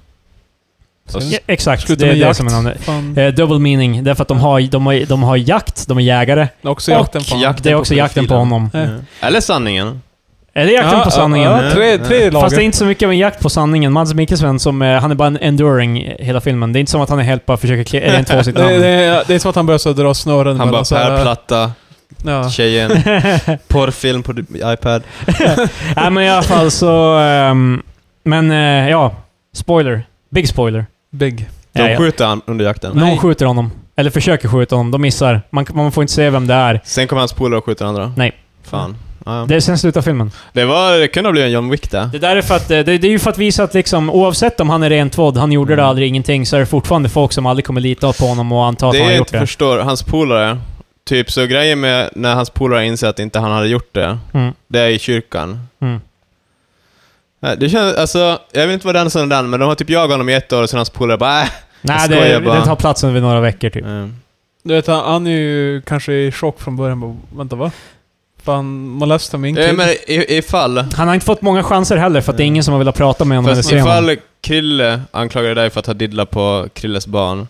B: Och s-
C: Ja, exakt,
D: Sluta
C: det är
D: med
C: det
D: jakt.
C: som är namnet.
D: Fan.
C: Eh, double meaning, därför att de har, de, har, de har jakt, de är jägare.
D: Också
C: och
D: jakten på
B: jakt. Jakten
C: det är
B: på
C: också jakten på
B: profilen.
C: honom.
B: Mm. Eller sanningen.
C: Eller jakten
D: Ja,
C: på sanningen.
D: Ja, tre, tre lager.
C: Fast det är inte så mycket av en jakt på sanningen. Mads Mikkelsen, som, eh, han är bara en enduring hela filmen. Det är inte som att han är helt bara försöker klä... Eller en två sitt
D: *laughs* det, det,
C: namn.
D: är- det är som att han börjar så dra snören.
B: Han bara
D: mellan så här-
B: Per Platta,
D: Ja.
B: tjejen,
C: *laughs*
B: porrfilm på di- iPad.
C: Nej men i alla fall så... ehm, men eh, ja, spoiler. Big spoiler.
D: Big.
B: De
C: Ja, ja.
B: skjuter han under jakten.
C: Någon
D: Nej.
C: skjuter honom. Eller försöker skjuta honom. De missar. Man, man får inte se vem det är.
B: Sen kommer hans polare och skjuter andra.
C: Nej.
B: Fan. Ja. Det,
C: Det, sen slutar filmen.
B: var, det kunde ha blivit en John Wick där.
C: Det där är för att, eh, det, det är ju för att visa att liksom, oavsett om han är rentvådd, han gjorde det
B: Mm.
C: aldrig ingenting, så är det fortfarande folk som aldrig kommer lita på honom och anta att
B: Det
C: han har
B: jag
C: gjort
B: inte
C: det.
B: förstår, hans polare. Typ, så grejen med när hans polare inser att inte han hade gjort det,
C: Mm,
B: det är i kyrkan.
C: mm.
B: Nej, Det känns, alltså, jag vill inte vara den som den, men de har typ jagat honom i ett år och sen hans polare bara äh.
C: Nej,
B: Jag
C: det,
B: skojar bara.
C: det tar platsen vid några veckor typ.
B: Mm.
D: Du vet, han, han är ju kanske i chock från början. Bara, Vänta, va? Fan, molestar min
B: Ja,
D: kid.
B: men i, ifall...
C: Han har inte fått många chanser heller, för att det är ingen som har velat prata med honom eller
B: Fast
C: se honom.
B: ifall Krille anklagade dig för att ha diddlat på Krilles barn,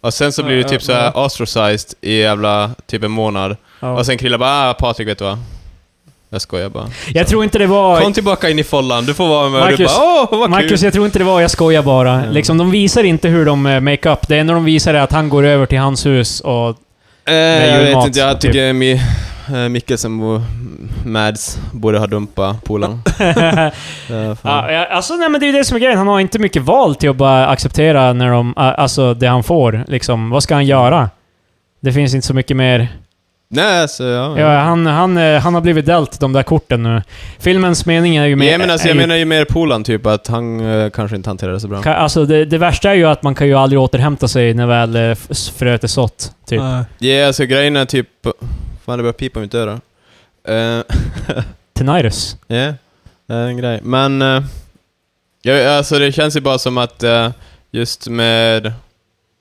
B: och sen så blir du
D: Ja,
B: typ
D: ja,
B: så här
D: ja.
B: ostracized i jävla typ en månad,
D: Ja.
B: och sen Krille bara ah, Patrik vet du vad? Jag skojar bara.
C: Jag tror inte det var...
B: Kom tillbaka in i follan, du får vara med. och du
C: Marcus,
B: bara åh vad
C: Marcus,
B: kul!
C: jag tror inte det var jag skojar bara.
B: Mm.
C: Liksom, de visar inte hur de eh, make up. Det enda de visar är att han går över till hans hus
B: *laughs*
C: och...
B: Eh, jag vet
C: julmat,
B: inte,
C: typ.
B: jag tycker Mi, eh, Mikkelsen och Mads borde ha
C: *laughs*
B: dumpat polaren. Ja, fan.
C: Ja, ja, alltså, nej men det är ju det som är grejen. Han har inte mycket val till att bara acceptera när de, a- alltså, det han får. Liksom. Vad ska han göra? Det finns inte så mycket mer.
B: Nej, så ja.
C: Ja, han, han, eh, han har blivit delt de där korten nu. Filmens mening är ju mer...
B: Men jag menar, alltså,
C: är
B: jag
C: ju-
B: menar ju mer polaren typ, att han eh, kanske inte hanterade det så bra.
C: ka- Alltså, det, det värsta är ju att man kan ju aldrig återhämta sig när väl eh, f- fröet är sått. Typ.
D: Nej.
B: Ja, alltså grejen är typ... Fan, det börjar pipa i mitt öra. Eh,
C: Tinnitus.
B: Ja, det är en grej. Men... eh, ja, alltså det känns ju bara som att eh, just med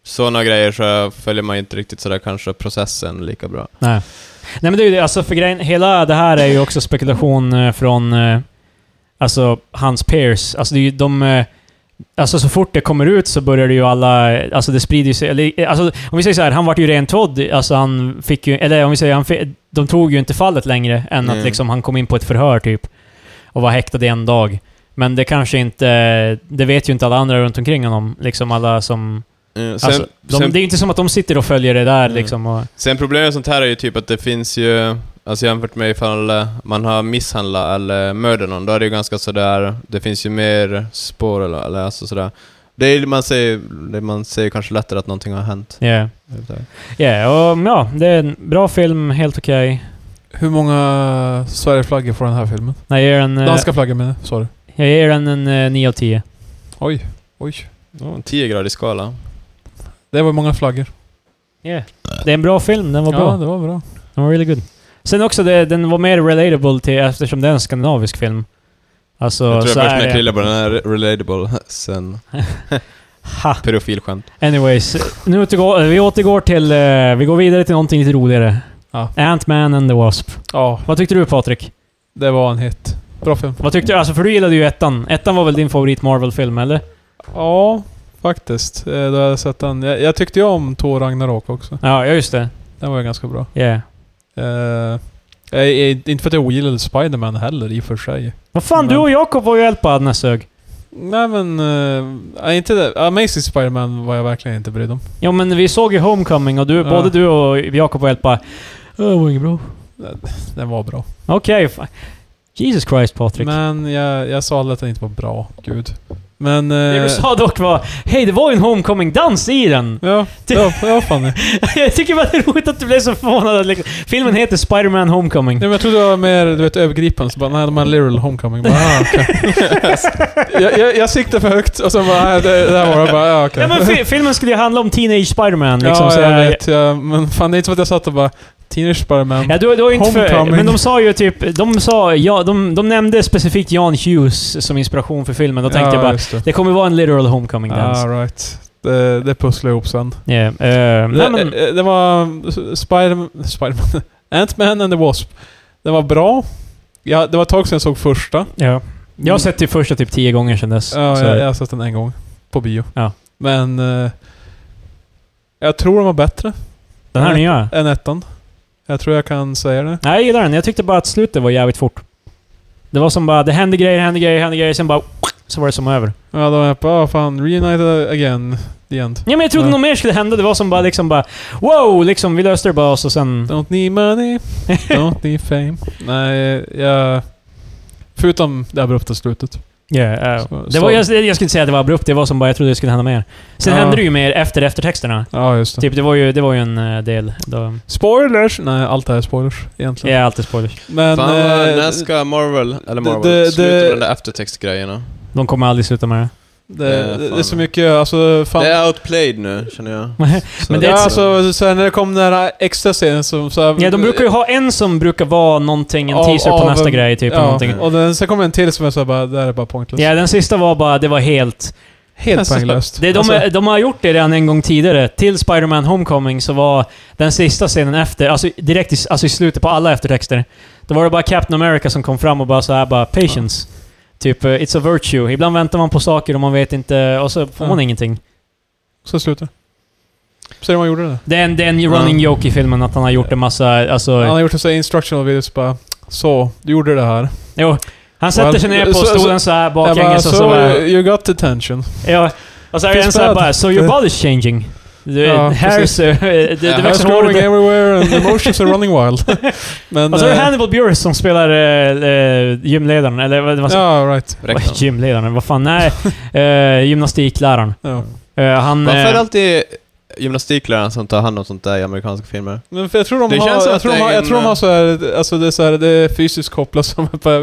B: sådana grejer så följer man ju inte riktigt sådär kanske processen lika bra.
C: Nej. Nej men det är ju det, alltså för grejen, hela det här är ju också spekulation eh, från eh, alltså hans peers. Alltså det är ju de... eh, Alltså så fort det kommer ut så börjar det ju alla... eh, Alltså det sprider ju sig... Eller, eh, alltså om vi säger så här, han vart ju rentvådd. Alltså han fick ju... Eller om vi säger, han fick, de tog ju inte fallet längre än att
B: Mm.
C: liksom han kom in på ett förhör typ. Och var häktad i en dag. Men det kanske inte... Det vet ju inte alla andra runt omkring honom. Liksom alla som...
B: Eh, sen,
C: Alltså, de,
B: sen,
C: det är ju inte som att de sitter och följer det där
B: Mm.
C: liksom. Och,
B: sen problemet med sånt här är ju typ att det finns ju... Alltså jämfört med ifall eh, man har misshandlat eller mördat någon, då är det ju ganska sådär... Det finns ju mer spår eller, eller alltså sådär. Det är, man säger det man säger kanske lättare att någonting har hänt.
C: yeah. Yeah, och, ja, det är en bra film, helt okej.
D: Hur många Sverigeflaggor får den här filmen?
C: Nej, Jag ger den, eh,
D: Danska flaggor menar jag. Sorry.
C: jag ger den en eh, 9 av 10.
D: Oj. Oj.
B: Oh, en 10-gradig skala.
D: Det var många flaggor.
C: Yeah. Det är en bra film, den var
D: ja,
C: bra.
D: det var bra.
C: Den var really good. Sen också, det, den var mer relatable till eftersom det är en skandinavisk film. Alltså,
B: jag tror
C: så
B: jag först
C: är
B: när jag
C: det.
B: krillade på den här relatable, *laughs* sen
C: Ha.
B: pedofilskämt.
C: Anyways, nu återgår, vi återgår till... eh, vi går vidare till någonting lite roligare.
D: Ja.
C: Ant-Man and the Wasp.
D: Ja,
C: Vad tyckte du Patrik?
D: det var en hit. Bra film.
C: Vad tyckte du? Alltså, för du gillade ju ettan. Ettan var väl din favorit Marvel-film, eller?
D: Ja, faktiskt. Eh, Då har jag sett den. Jag, jag tyckte ju om Thor Ragnarok också.
C: Ja, ja, just det.
D: Den var ju ganska bra.
C: Yeah.
D: Eh, jag, jag, inte för att jag ogillade Spider-Man heller i och för sig.
C: Vad fan,
D: Men-
C: du och Jakob var ju eld på Adnes sög.
D: Nej men... eh, inte det. Amazing Spider-Man var jag verkligen inte brydd om. *laughs*
C: Ja men vi såg ju Homecoming och du,
D: Ja.
C: både du och Jakob var helt bara... "Ja, Det var inget bra.
D: Den var bra.
C: Okej. fa- Jesus Christ Patrik.
D: Men jag, jag sa aldrig att den inte var bra. Gud. Men...
C: Det
D: eh,
C: du sa dock var Hej, det var ju en Homecoming-dans i den! *laughs*
D: *laughs* Ja, det var, det var fan det.
C: Jag tycker bara det är roligt att du blev så förvånad. att Liksom. Filmen heter Spider-Man Homecoming.
D: Nej, men jag trodde det var mer du vet, övergripande, så bara nej, de har literal homecoming. Bara, ah,
C: *laughs*
D: okej. jag, jag, jag siktade för högt och sen bara, nej, det, det här var det. Bara, ah, okej.
C: Ja, men fi- filmen skulle ju handla om Teenage Spider-Man. Liksom,
D: ja,
C: så
D: jag
C: jag-
D: vet. Ja, men fan, det är inte som att jag satt och bara, teenage Spiderman.
C: Ja, du, du har ju inte för,
D: Homecoming.
C: men de sa ju typ... De, sa, ja, de, de nämnde specifikt Jan Hughes som inspiration för filmen. Då tänkte jag bara,
D: just det.
C: det kommer vara en literal homecoming dance.
D: Ah, right. Det, det pusslar ihop sen.
C: Yeah. eh, nej,
D: det,
C: men,
D: eh, det var Spider- Spiderman... *laughs* Ant-Man and the Wasp. Den var bra. Ja, det var ett tag sedan jag såg första.
C: ja. Jag har sett det första typ tio gånger sedan dess.
D: Mm. Ja,
C: så-
D: jag, jag har sett den en gång. På bio.
C: Ja.
D: Men... eh, jag tror den var bättre
C: den här nya.
D: än ettan. Jag tror jag kan säga det.
C: Nej, jag gillar den. Jag tyckte bara att slutet var jävligt fort. Det var som bara, det hände grejer, hände grejer, hände grejer, sen bara... Så var det som över.
D: Ja, då var jag bara, ah, fan, reunited again. The end.
C: Ja, men jag trodde
D: Ja.
C: något mer skulle hända. Det var som bara liksom bara... Wow! Liksom, vi löste det bara och så sen...
D: Don't need money, don't need fame. Nej, jag... Förutom det abrupta slutet.
C: Yeah, eh,
D: Så-
C: det var,
D: så-
C: jag, jag skulle inte säga att det var abrupt, det var som bara jag trodde det skulle hända mer. Sen
D: Ja.
C: hände det ju mer efter eftertexterna.
D: Ja, just det.
C: Typ, det var ju, det var ju en eh, del. Då,
D: Spoilers! Nej, allt det här är spoilers
C: det
D: egentligen.
C: är alltid spoilers.
D: Men...
B: Fan, vad-
D: eh,
B: när ska Marvel, eller Marvel,
D: det- det-
B: sluta med de där eftertextgrejerna?
C: De kommer aldrig sluta med det.
D: det, det, det är så
B: fan.
D: mycket, alltså... Fan.
B: Det är outplayed nu, känner
D: *laughs*
B: jag. Så
C: Men det är
D: ja,
C: ett-
D: alltså, så här, när det kom den här extra scenen som... Så här,
C: Ja, de brukar ju ha en som brukar vara någonting, en
D: Av-
C: teaser på
D: av-
C: nästa grej typ. eller
D: Ja,
C: någonting.
D: och den, sen kommer en till som är såhär bara, det här är bara pointless.
C: Ja, den sista var bara, det var helt...
D: Helt Alltså, poänglöst.
C: Det, de, de har gjort det redan en gång tidigare. Till Spider-Man Homecoming så var den sista scenen efter, alltså direkt i, alltså i slutet på alla eftertexter, då var det bara Captain America som kom fram och bara så här bara “Patience”. Typ eh, “It's a virtue”. Ibland väntar man på saker och man vet inte, och så får
D: Ja.
C: man ingenting.
D: så slutar det. Så det man gjorde det.
C: Det är en, det är en running joke i filmen att han har gjort en massa, alltså...
D: Han har gjort en sån här instructional video, så bara, så, du gjorde det här.
C: Jo, han sätter sig ner på
D: Så- så-
C: stolen så här
D: Jag bara,
C: baklänges och så
D: so,
C: bara...
D: you, you got detention.
C: Ja, och så är det en så här bara “So your body's changing”. Du,
D: Ja,
C: hairs,
D: precis.
C: eh, det, det
B: Ja,
D: *laughs*
C: växer hår
D: Going
C: i-
D: everywhere and emotions are running wild.
C: *laughs*
D: Men...
C: Och så Alltså, är det
D: eh,
C: Hannibal Buress som spelar eh, eh, gymledaren, eller vad vad-
D: Ja, right.
C: vad-
B: Räkna.
C: *laughs* Gymledaren? Vad fan?
D: *laughs*
C: Nej, eh, gymnastikläraren.
D: Ja.
C: Eh, han...
B: Varför är det
C: eh,
B: alltid gymnastikläraren som tar hand om sånt där i amerikanska filmer?
D: Men för jag tror de
B: Det
D: har,
B: känns som
D: jag
B: att
D: tror
B: det
D: de
B: är
D: har, jag
B: en-
D: tror de har så här, alltså det är så här, det är fysiskt kopplat som
B: *laughs*
D: på, de,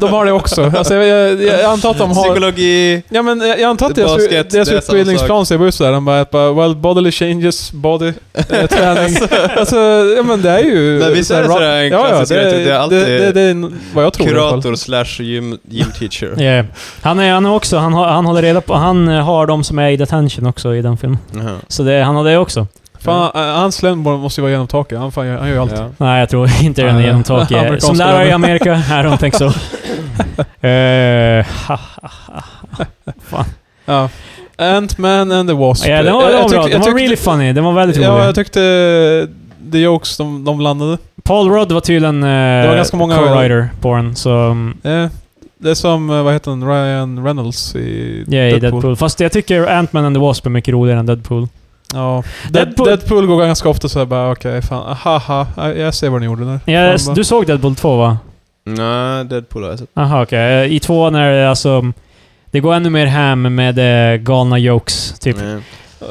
D: de har det också. Alltså jag, jag, jag antar att de har...
B: Psykologi...
D: Ja men jag jag antar att deras,
B: Basket, det är
D: deras
B: samma
D: utbildningsplan ser ut sådär. De bara, bara, well bodily changes, body,
B: *laughs*
D: eh, träning. alltså, ja men det är ju...
B: Men visst är det
D: så
B: sådär
D: här-
B: en
D: Ja, ja,
B: klassisk
D: det,
B: grej, typ, det är alltid
D: det, det, det är vad jag tror i alla fall.
B: kurator slash gym, gym teacher.
C: eh, han är han är också, han, har, han håller reda på, han eh, har de som är i detention också i den filmen.
B: Jaha.
C: Så det, han har det också.
D: Fan, eh, hans lön måste ju vara genom taket. Han, fan, gör- han gör ju allt.
B: Ja.
C: Nej, jag tror *laughs* inte den är
D: Nej,
C: genom
D: *laughs*
C: taket. Eh, Som
D: amerikanska
C: lärare i
D: lärare. *laughs*
C: Amerika, I don't think so. Eh, ha, ha, ha.
D: Ja. Ant-Man and the Wasp.
C: Ja, den var, den var
D: Jag- jag
C: bra.
D: tyckte-
C: Den
D: jag
C: var
D: tyckte-
C: really funny. Den var väldigt rolig.
D: Ja, jag tyckte eh, the jokes de, de landade.
C: Paul Rudd var tydligen eh,
D: Det var ganska många-
C: co-writer på den, så... mm,
D: Eh, det är som, eh, vad heter han, Ryan Reynolds i
C: Ja, i Deadpool. Fast jag tycker Ant-Man and the Wasp är mycket roligare än Deadpool.
D: Ja.
C: Deadpool-
D: Deadpool. Deadpool går ganska ofta så här bara okej, fan, haha, jag- jag ser vad ni gjorde där.
C: Ja,
D: Fan, bara-
C: du såg Deadpool 2 va?
B: Nej, Deadpool har jag sett.
C: Aha, okej. Eh, I tvåan är det alltså... Det går ännu mer hem med eh, galna jokes, typ.
B: Nej.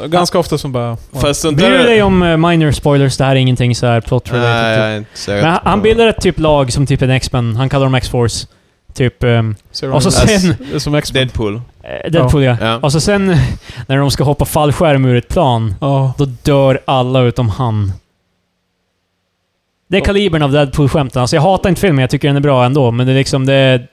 D: Ganska ofta som bara...
B: Fast Mm. sånt
C: Bryr du dig
B: där...
C: om eh, minor spoilers? Det här är ingenting så här plot related.
B: Nej,
C: typ.
B: jag är inte säker.
C: Men han, han bildar ett typ lag som typ en X-Men. Han kallar dem X-Force. Typ... ehm,
D: ser
C: och så
D: de-
C: sen...
D: Det är som x
B: Deadpool.
C: eh, Deadpool ja.
B: Ja.
C: Och så sen *laughs* när de ska hoppa fallskärm ur ett plan,
D: Ja.
C: då dör alla utom han. Det är
D: Ja.
C: kalibern av Deadpool-skämten. Alltså jag hatar inte filmen, jag tycker den är bra ändå, men det är liksom... Det är,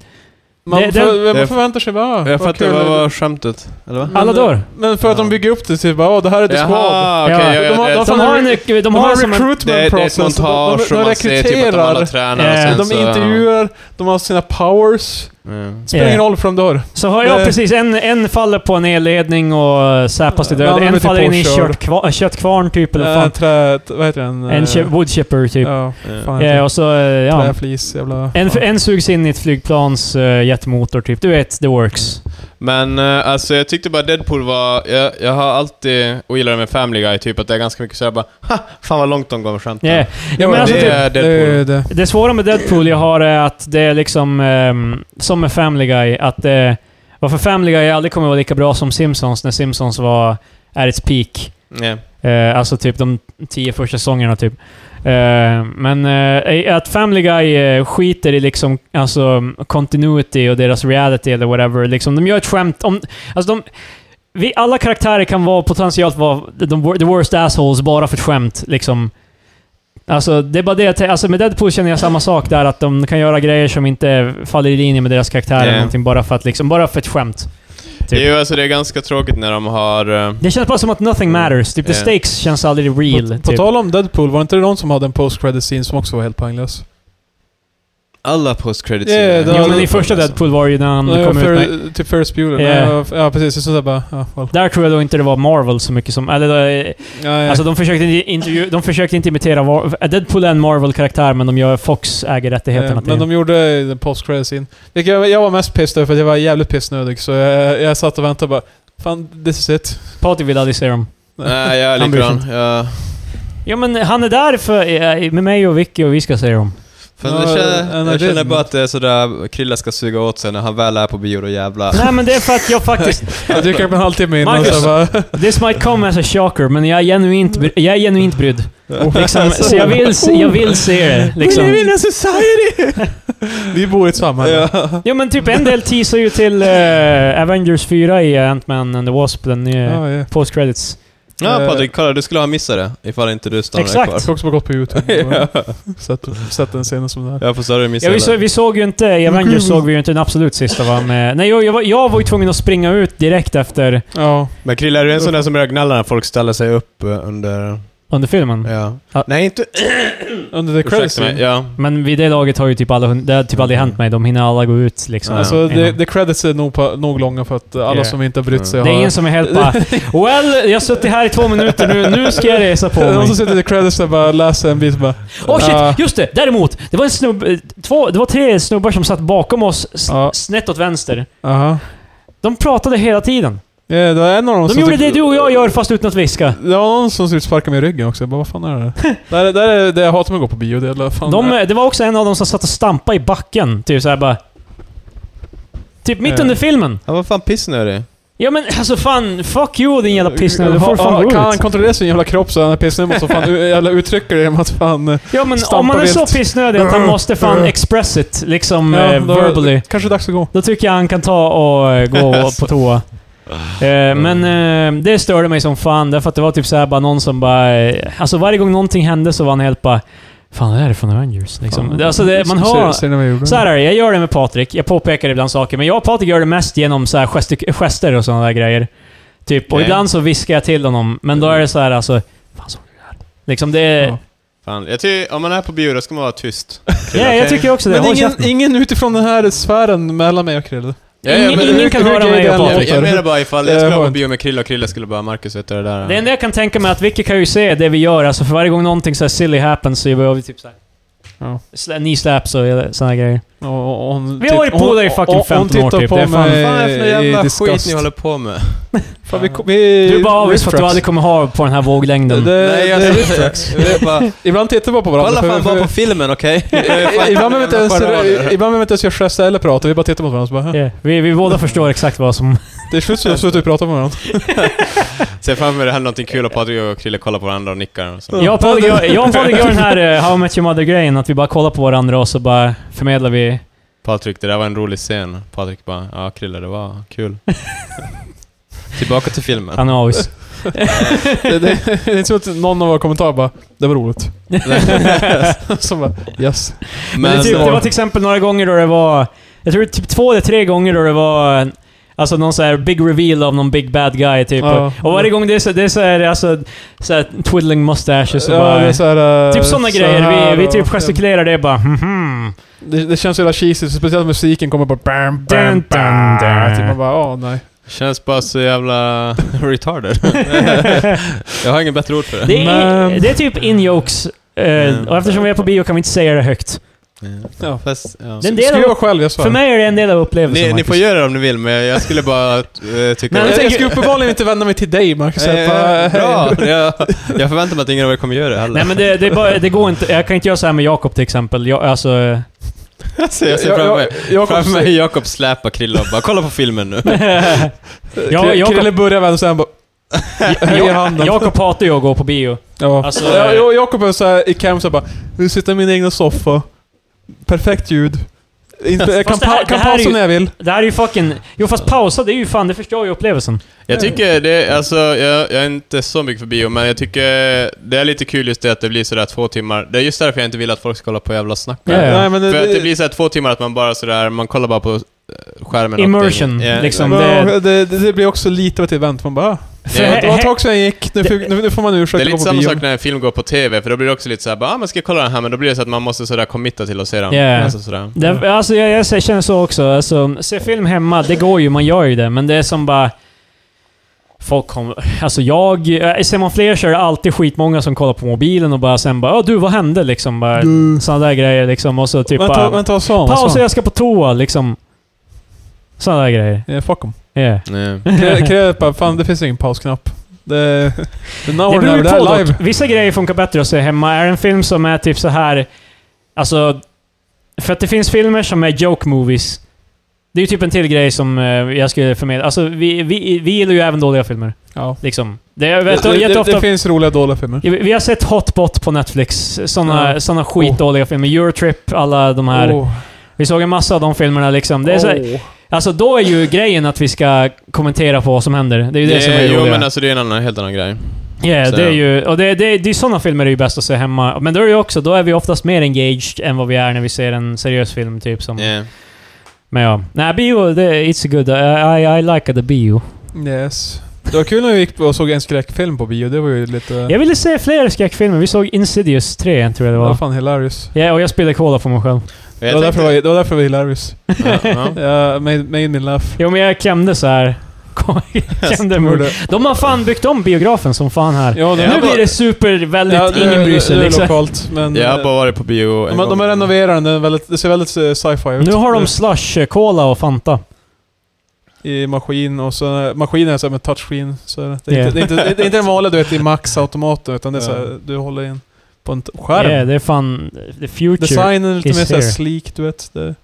D: Man,
C: Det- det-
D: för,
B: det-
D: man förväntar sig bara... ah,
B: Jag
D: vad
B: fattar,
D: kul.
B: vad var skämtet? Eller va?
D: Men-
C: alla dör.
D: Men för att de
B: Ja.
D: bygger upp det till bara åh, det här är the squad.
B: Jaha, okej.
C: Ja.
B: ja, ja,
D: De har-
B: det-
D: de har-
C: De har en... De
D: De har
C: har
D: en
C: som en...
B: det, det
D: recruitment
B: är ett
D: process.
B: montage och man ser typ att de alla tränar
C: Eh,
B: och sen
D: De
B: så... ja.
D: intervjuar, de har sina powers.
B: Ja.
D: Spelar
C: Ja.
D: ingen roll för de dör.
C: Så har jag
D: Det-
C: precis, en, en faller på en elledning och säpas till
D: Ja,
C: död.
D: men
C: En
D: typ
C: faller in i en
D: påkörd.
C: köttkvarn, köttkvarn typ, eller
D: Äh,
C: vad fan.
D: trä, vad heter den?
C: En
D: Eh,
C: chip, woodchipper typ.
D: Ja, fan.
C: Ja, och så... eh, Ja.
D: Träflis, jävla...
C: En,
D: fan.
C: en sugs in i ett flygplans eh, jetmotor typ. Du vet, the works.
B: Men eh, alltså jag tyckte bara Deadpool var... Jag, jag har alltid ogillat med Family Guy, typ att det är ganska mycket såhär bara ha, fan vad långt de går med skämten.
C: Yeah. Ja, men
B: det
C: alltså, typ,
B: är
D: det,
B: Deadpool.
D: är det.
C: Det svåra med Deadpool jag har är att det är liksom ehm, som med Family Guy, att det, varför Family Guy aldrig kommer vara lika bra som Simpsons när Simpsons var, är its peak.
B: Yeah.
C: Eh, alltså typ de tio första säsongerna typ. Eh, men eh, att Family Guy eh, skiter i liksom, alltså continuity och deras reality eller whatever. Liksom, de gör ett skämt om... Alltså de, vi, alla karaktärer kan vara potentiellt vara de, wor- the worst assholes bara för ett skämt. Liksom. Alltså, det är bara det jag tän- alltså, med Deadpool känner jag samma sak där, att de kan göra grejer som inte faller i linje med deras karaktärer eller
B: Ja.
C: någonting, bara för, att, liksom, bara för ett skämt. Typ.
B: Jo, alltså det är ganska tråkigt när de har... eh,
C: Det känns bara som att nothing matters. Typ,
B: Ja.
C: the stakes känns aldrig real.
D: På,
C: typ.
D: på tal om Deadpool, var inte det någon som hade en post credit scene som också var helt poänglös?
B: alla post credits
D: Ja, ja, det
C: Jo,
D: har
C: men i
D: aldrig
C: första Deadpool var det ju när han
D: Ja,
C: kom ut med...
D: Fer- Typ Ferris Bueller.
C: Ja.
D: Ja, ja, precis. Det är sådär bara... Ja, well.
C: Där tror jag då inte det var Marvel så mycket som... Eller, eh,
D: ja, ja.
C: alltså de försökte, inte intervju, de försökte inte imitera... Var, Deadpool är en Marvel-karaktär, men de gör Fox äger
D: Eh,
C: rättigheterna till
D: Men de gjorde den post credit scene. Vilket jag, jag var mest pissed över för att jag var jävligt pissnödig. Så jag, jag satt och väntade och bara... Fan, this is it.
C: Patty vill aldrig se dem.
B: Nej, jag är
D: Han bryr sig
B: likadan. Ja.
C: Ja, men han är där för, eh, med mig och Vicky och vi ska se dem.
B: Fast
D: Ja,
B: jag
D: en
B: känner, jag känner
D: agreement.
B: bara att det är sådär, Krilla ska suga åt sig när han väl är på bio, då jävlar.
C: Nej, men det är för att jag faktiskt...
D: *laughs* Jag dyker upp en halvtimme innan
C: Marcus.
D: och så bara... *laughs*
C: This might come as a shocker, men jag är genuint, bry- jag är genuint brydd.
B: *laughs*
D: Oh.
C: Liksom, så jag vill, se- jag vill se
D: *laughs*
C: det. Liksom.
D: in a society! Vi bor i ett samhälle.
C: Ja men typ en del teasar ju till eh, Avengers 4 i Ant-Man and the Wasp, den nya
D: Ja, ja.
C: post credits.
B: Ja
D: Eh.
B: Patrik, kolla du skulle ha missat det ifall inte du stannade
C: Exakt.
B: kvar. *laughs*
D: Jag ska också bara gått på YouTube och sett, sett den scenen som den här.
B: Ja fast då hade du missat
C: Ja, vi,
B: hela.
C: så, vi såg ju inte, i Avengers såg vi ju inte den absolut sista va? Med, nej, jag, jag, var, jag var ju tvungen att springa ut direkt efter,
D: Ja.
B: Men Krilla, är du en sån där som börjar gnälla när folk ställer sig upp eh, under...
C: under filmen.
B: Ja.
C: Mm. Ja.
B: Nej, inte...
D: Under the credits.
B: Ursäkta mig.
D: scene.
B: Ja.
C: Men vid det laget har ju typ alla, hun- det har typ aldrig hänt mig. De hinner alla gå ut liksom.
B: Ja.
D: Alltså, the,
C: innan.
D: the credits är nog, på, nog långa för att alla
C: Ja.
D: som inte har brytt sig
C: det är
D: har...
C: ingen som är helt
D: *laughs*
C: bara Well, jag har suttit här i två minuter nu, nu ska jag resa
D: *laughs*
C: på
D: Någon
C: mig.
D: som sitter i the credits och bara läser en bit och bara...
C: Åh
D: Alltså, Ja.
C: shit! Just det! Däremot! Det var en snubb, eh, två, det var tre snubbar som satt bakom oss, s-
D: Ja.
C: snett åt vänster.
D: Aha.
C: De pratade hela tiden.
D: Ja, det var en av dem
C: De
D: som
C: gjorde
D: typ-
C: det du och jag gör fast utan att viska.
D: Det var någon som skulle sparka mig i ryggen också. Jag bara, vad fan är det?
C: *laughs*
D: där, är- där är det jag hatar med att gå på bio. Det, är, fan
C: De, eh, det var också en av dem som satt och stampade i backen. Typ såhär bara... Typ mitt
D: Ja.
C: under filmen.
B: Han var fan pissnödig.
C: Ja men alltså fan, fuck you din jävla pissnödig. Du får
D: Ha- ha-
C: fan
D: Kan
C: gå
D: han
C: ut.
D: kontrollera sin jävla kropp så den här pissnödig
C: *laughs*
D: måste fan u- jävla uttrycka det genom att fan... eh,
C: Ja men
D: stampa
C: om man är så
D: vilt.
C: pissnödig att han måste fan express it, liksom eh,
D: då-
C: verbally.
D: Kanske dags att gå.
C: Då tycker jag han kan ta och eh,
D: *laughs*
C: gå på toa. Eh, men
D: Mm.
C: eh, det störde mig som fan, därför att det var typ såhär bara någon som bara... eh, Alltså varje gång någonting hände så var han helt bara... Fan, det här är från Avengers. Liksom. Alltså det, man hör...
D: Ser, ser ni vad jag gjorde?
C: Så här är det, jag gör det med Patrik. Jag påpekar ibland saker, men jag och Patrik gör det mest genom så här gestik- gester och sådana där grejer. Typ, och
B: Nej.
C: ibland så viskar jag till honom, men då är det så här alltså... Fan, såg du det här? Liksom det...
D: Ja.
C: Ja,
B: Fan. Jag tycker, om man är på bio då ska man vara tyst. Krilla,
C: jag
B: okej?
C: tycker också det.
D: Men
C: Håll
D: ingen,
C: käften.
D: ingen utifrån den här sfären mellan mig och Krille.
B: Ja, ja,
C: ingen-
B: men-
C: ingen kan
D: hur-
C: höra
D: hur
C: mig och
D: gay den
B: Jag,
C: Patrik.
B: jag
D: låter?
B: menar bara ifall jag
D: Eh,
B: skulle vara på
D: skönt.
B: bio med Krilla och Krilla skulle bara Marcus vet du det där...
C: Det enda jag kan tänka mig är att Vicky kan ju se det vi gör, alltså för varje gång någonting så här silly happens så gör vi typ såhär...
D: Ja.
C: Ja. Knee slaps och sådana grejer.
D: Och- och hon
C: Vi har varit
D: titt-
C: polare i
D: hon-
C: fucking
D: hon-
C: 15 år
D: Hon tittar
C: typ.
D: på
C: Det är fan-
D: mig
B: Fan är det för
D: Eh, i
B: jävla
D: disgust.
B: skit ni håller på med?
D: Fan, vi, vi,
C: Du är bara avis för att du
D: refrax.
C: aldrig kommer ha på den här
D: Det,
C: våglängden.
B: Nej, *laughs* jag
D: det,
B: det är bara...
D: ibland tittar vi bara på varandra.
B: Kolla
D: för-
B: fan
D: för-
B: bara på filmen, okej?
D: Eh, Ibland behöver vi inte ens- ibland behöver vi inte ens göra gester eller prata, vi bara tittar mot varandra så bara, "Hä?"
C: Ja, vi, vi båda förstår exakt vad som...
D: Det är slut så vi har suttit och pratat med varandra.
B: Se framför mig det händer någonting kul och Patrik och Krilla kollar på varandra och nickar och så.
C: Jag och Patrik gör- jag och Patrik gör den här eh, How I Met Your Mother-grejen, att vi bara kollar på varandra och så bara förmedlar vi...
B: Patrik, det där var en rolig scen. Patrik bara, ja Krilla, det var
C: *laughs*
B: kul. Tillbaka till filmen.
C: Han är avis.
B: *laughs*
D: Det, det, det är inte som att någon av våra kommentarer bara, det var roligt. Som bara, yes.
C: Men det, är typ,
D: så-
C: det var till exempel några gånger då det var... Jag tror det är typ två eller tre gånger då det var... eh, Alltså någon så här big reveal av någon big bad guy typ.
D: Ja.
C: Och varje gång det är så, det är så här, alltså, så här twiddling mustaches och
D: Ja,
C: bara...
D: det är så här, eh,
C: Typ sådana
D: så
C: grejer.
D: här
C: Vi, vi
D: och-
C: typ gestikulerar det bara
D: *laughs*
C: mhm.
D: Det, det känns så jävla cheesy, speciellt när musiken kommer bara bam,
C: Dun,
D: bam,
C: dun,
D: bam.
C: dun.
D: Typ man bara, åh nej.
B: Känns bara
C: *laughs*
B: så jävla retarded. jag har ingen bättre ord för det.
C: Det är,
D: Men-
C: det är typ in-jokes. eh,
B: Mm.
C: Och eftersom vi är på bio kan vi inte säga det högt.
D: Ja.
B: Fast, ja.
C: Det är en del
D: Skriva
C: av,
D: själv, jag svär.
C: för mig är det en del av upplevelsen
B: Ni, ni
C: Marcus.
B: får göra det om ni vill, men jag skulle bara eh, tycka...
C: Men
D: jag,
C: jag
D: jag,
C: tänker-
D: ska uppenbarligen inte vända mig till dig Marcus. Jag
B: *laughs* Eh,
D: bara, hej.
B: bra!
C: *laughs*
B: Jag, jag förväntar mig att ingen av er kommer göra det heller.
C: Nej men det, det, är bara, det går inte. Jag kan inte göra så här med Jakob till exempel. Jag, alltså,
D: *laughs*
C: eh,
B: *laughs* alltså, jag ser
D: Jag-
B: framför
D: jag-
B: mig,
D: Jakob
B: framför
D: ser-
B: mig Jakob släpar Krille och bara 'Kolla på filmen nu'
C: Ja,
D: Kri-
C: Jakob-
D: Krille börjar vända sig, han bara... Höjer handen.
C: Jakob hatar ju att gå på bio.
D: Ja.
C: Alltså,
D: ja, jag- Jakob är såhär i cam såhär bara, nu sitter jag i min egna soffa. Perfekt ljud. Inte- Jag kan,
C: Fast det här-
D: pa- kan
C: det här är
D: pausa
C: ju-
D: när jag vill.
C: Det här är ju fucking... Jo fast pausa, det är ju fan, det förstör ju upplevelsen.
B: Jag tycker det, alltså jag, jag är inte så mycket för bio, men jag tycker det är lite kul just det att det blir sådär två timmar. Det är just därför jag inte vill att folk ska kolla på jävla snack.
C: Ja, ja.
D: men
B: För att det blir såhär två timmar att man bara sådär, man kollar bara på eh, skärmen. och
C: Immersion,
B: allting. Ja,
C: liksom.
D: Ja,
C: det-
D: det, det, det blir också lite av ett event. Man bara,
C: För
B: Ja,
D: ja, det var ett
C: he-
D: tag sedan jag gick, nu, fick, nu, nu får man
B: Det är
D: ursäkta gå
B: lite
D: på
B: samma sak
D: bion.
B: när en film går på TV, för då blir det också lite såhär, bara, ah, men ska jag kolla den här? Men då blir det så att man måste sådär committa till att se den.
C: Ja.
B: Alltså, sådär.
D: Mm.
C: Det, alltså jag, jag ser- känner så också. Alltså, se film hemma, det går ju, man gör ju det. Men det är som bara... Folk kommer... Alltså jag... eh, Ser man fler så är det alltid skitmånga som kollar på mobilen och bara sen bara "Åh, du, vad hände?” liksom. Bara,
D: Du,
C: sådana där grejer liksom. Och så typ
D: vänta,
C: bara...
D: vänta, vad sa han? Vad
C: Paus,
D: sa han?
C: jag ska på toa liksom. Sådana där grejer.
D: Eh, Fuck em.
C: Yeah.
B: Nej.
C: *laughs*
D: Krille- Krille bara, fan det finns ingen pausknapp. Det, det now
C: Det
D: or
C: beror
D: never,
C: ju
D: det här är
C: på
D: live.
C: dock. Vissa grejer funkar bättre att se hemma. Är det en film som är typ så här... Alltså... För att det finns filmer som är joke movies. Det är ju typ en till grej som eh, jag skulle förmedla. Alltså, vi, vi, vi gillar ju även dåliga filmer.
D: Ja.
C: Liksom. Det är
D: Det,
C: vet,
D: det, det,
C: jätteofta...
D: det finns roliga dåliga filmer.
C: vi har sett Hotbot på Netflix. Såna,
D: Ja. Oh.
C: såna skitdåliga filmer. Eurotrip, alla de här.
D: Åh.
C: Vi såg en massa av de filmerna liksom. Det är så,
D: Åh.
C: alltså då är ju grejen att vi ska kommentera på vad som händer. Det är ju det, som är det
B: jo,
C: roliga.
B: men alltså det är en annan, helt annan grej.
C: Ja,
B: Så-
C: det är ju... Och det, det, det är sådana filmer är ju bäst att se hemma. Men då är det ju också, då är vi oftast mer engaged än vad vi är när vi ser en seriös film, typ som...
B: Yeah.
C: Men ja. Nej, bio, det, it's good. I, I, I like the bio.
D: Yes. Det var kul när vi gick och såg en skräckfilm på bio, det var ju lite...
C: Jag ville se fler skräckfilmer. Vi såg Insidious 3, tror jag
D: det
C: det
D: var
C: var.
D: fan hilarious.
C: Ja, och jag spelade cola för mig själv.
D: Det var, därför det, var, det var därför det var hilarious.
B: ja,
C: *laughs*
B: ja.
D: Uh, made, made me laugh.
C: Jo, men jag klämde så här. *laughs* Jag klämde mig.
D: Gjorde-
C: De har fan byggt om biografen som fan här.
D: Ja,
B: Jag
C: Nu
B: har bara-
C: blir det super, väldigt,
D: ja, det-
C: ingen bryr sig
D: det är
C: liksom.
D: lokalt, men...
B: Jag har
D: eh,
B: bara varit på bio en
D: men de
B: gång.
D: har renoverat den, den är väldigt, det ser väldigt eh, sci-fi ut.
C: Nu har de slush, eh, cola och Fanta.
D: I maskin och så, maskinen är såhär med touchscreen. Så är det. Det, är
C: Yeah.
D: inte, det, är inte, det är inte den vanliga du vet i max-automaten, utan det är
B: Ja.
D: såhär, du håller in på en t-
C: Ja,
D: skärm.
C: det är fan the future.
D: Designen är lite
C: is
D: mer såhär
C: here.
D: sleek, du vet. Det.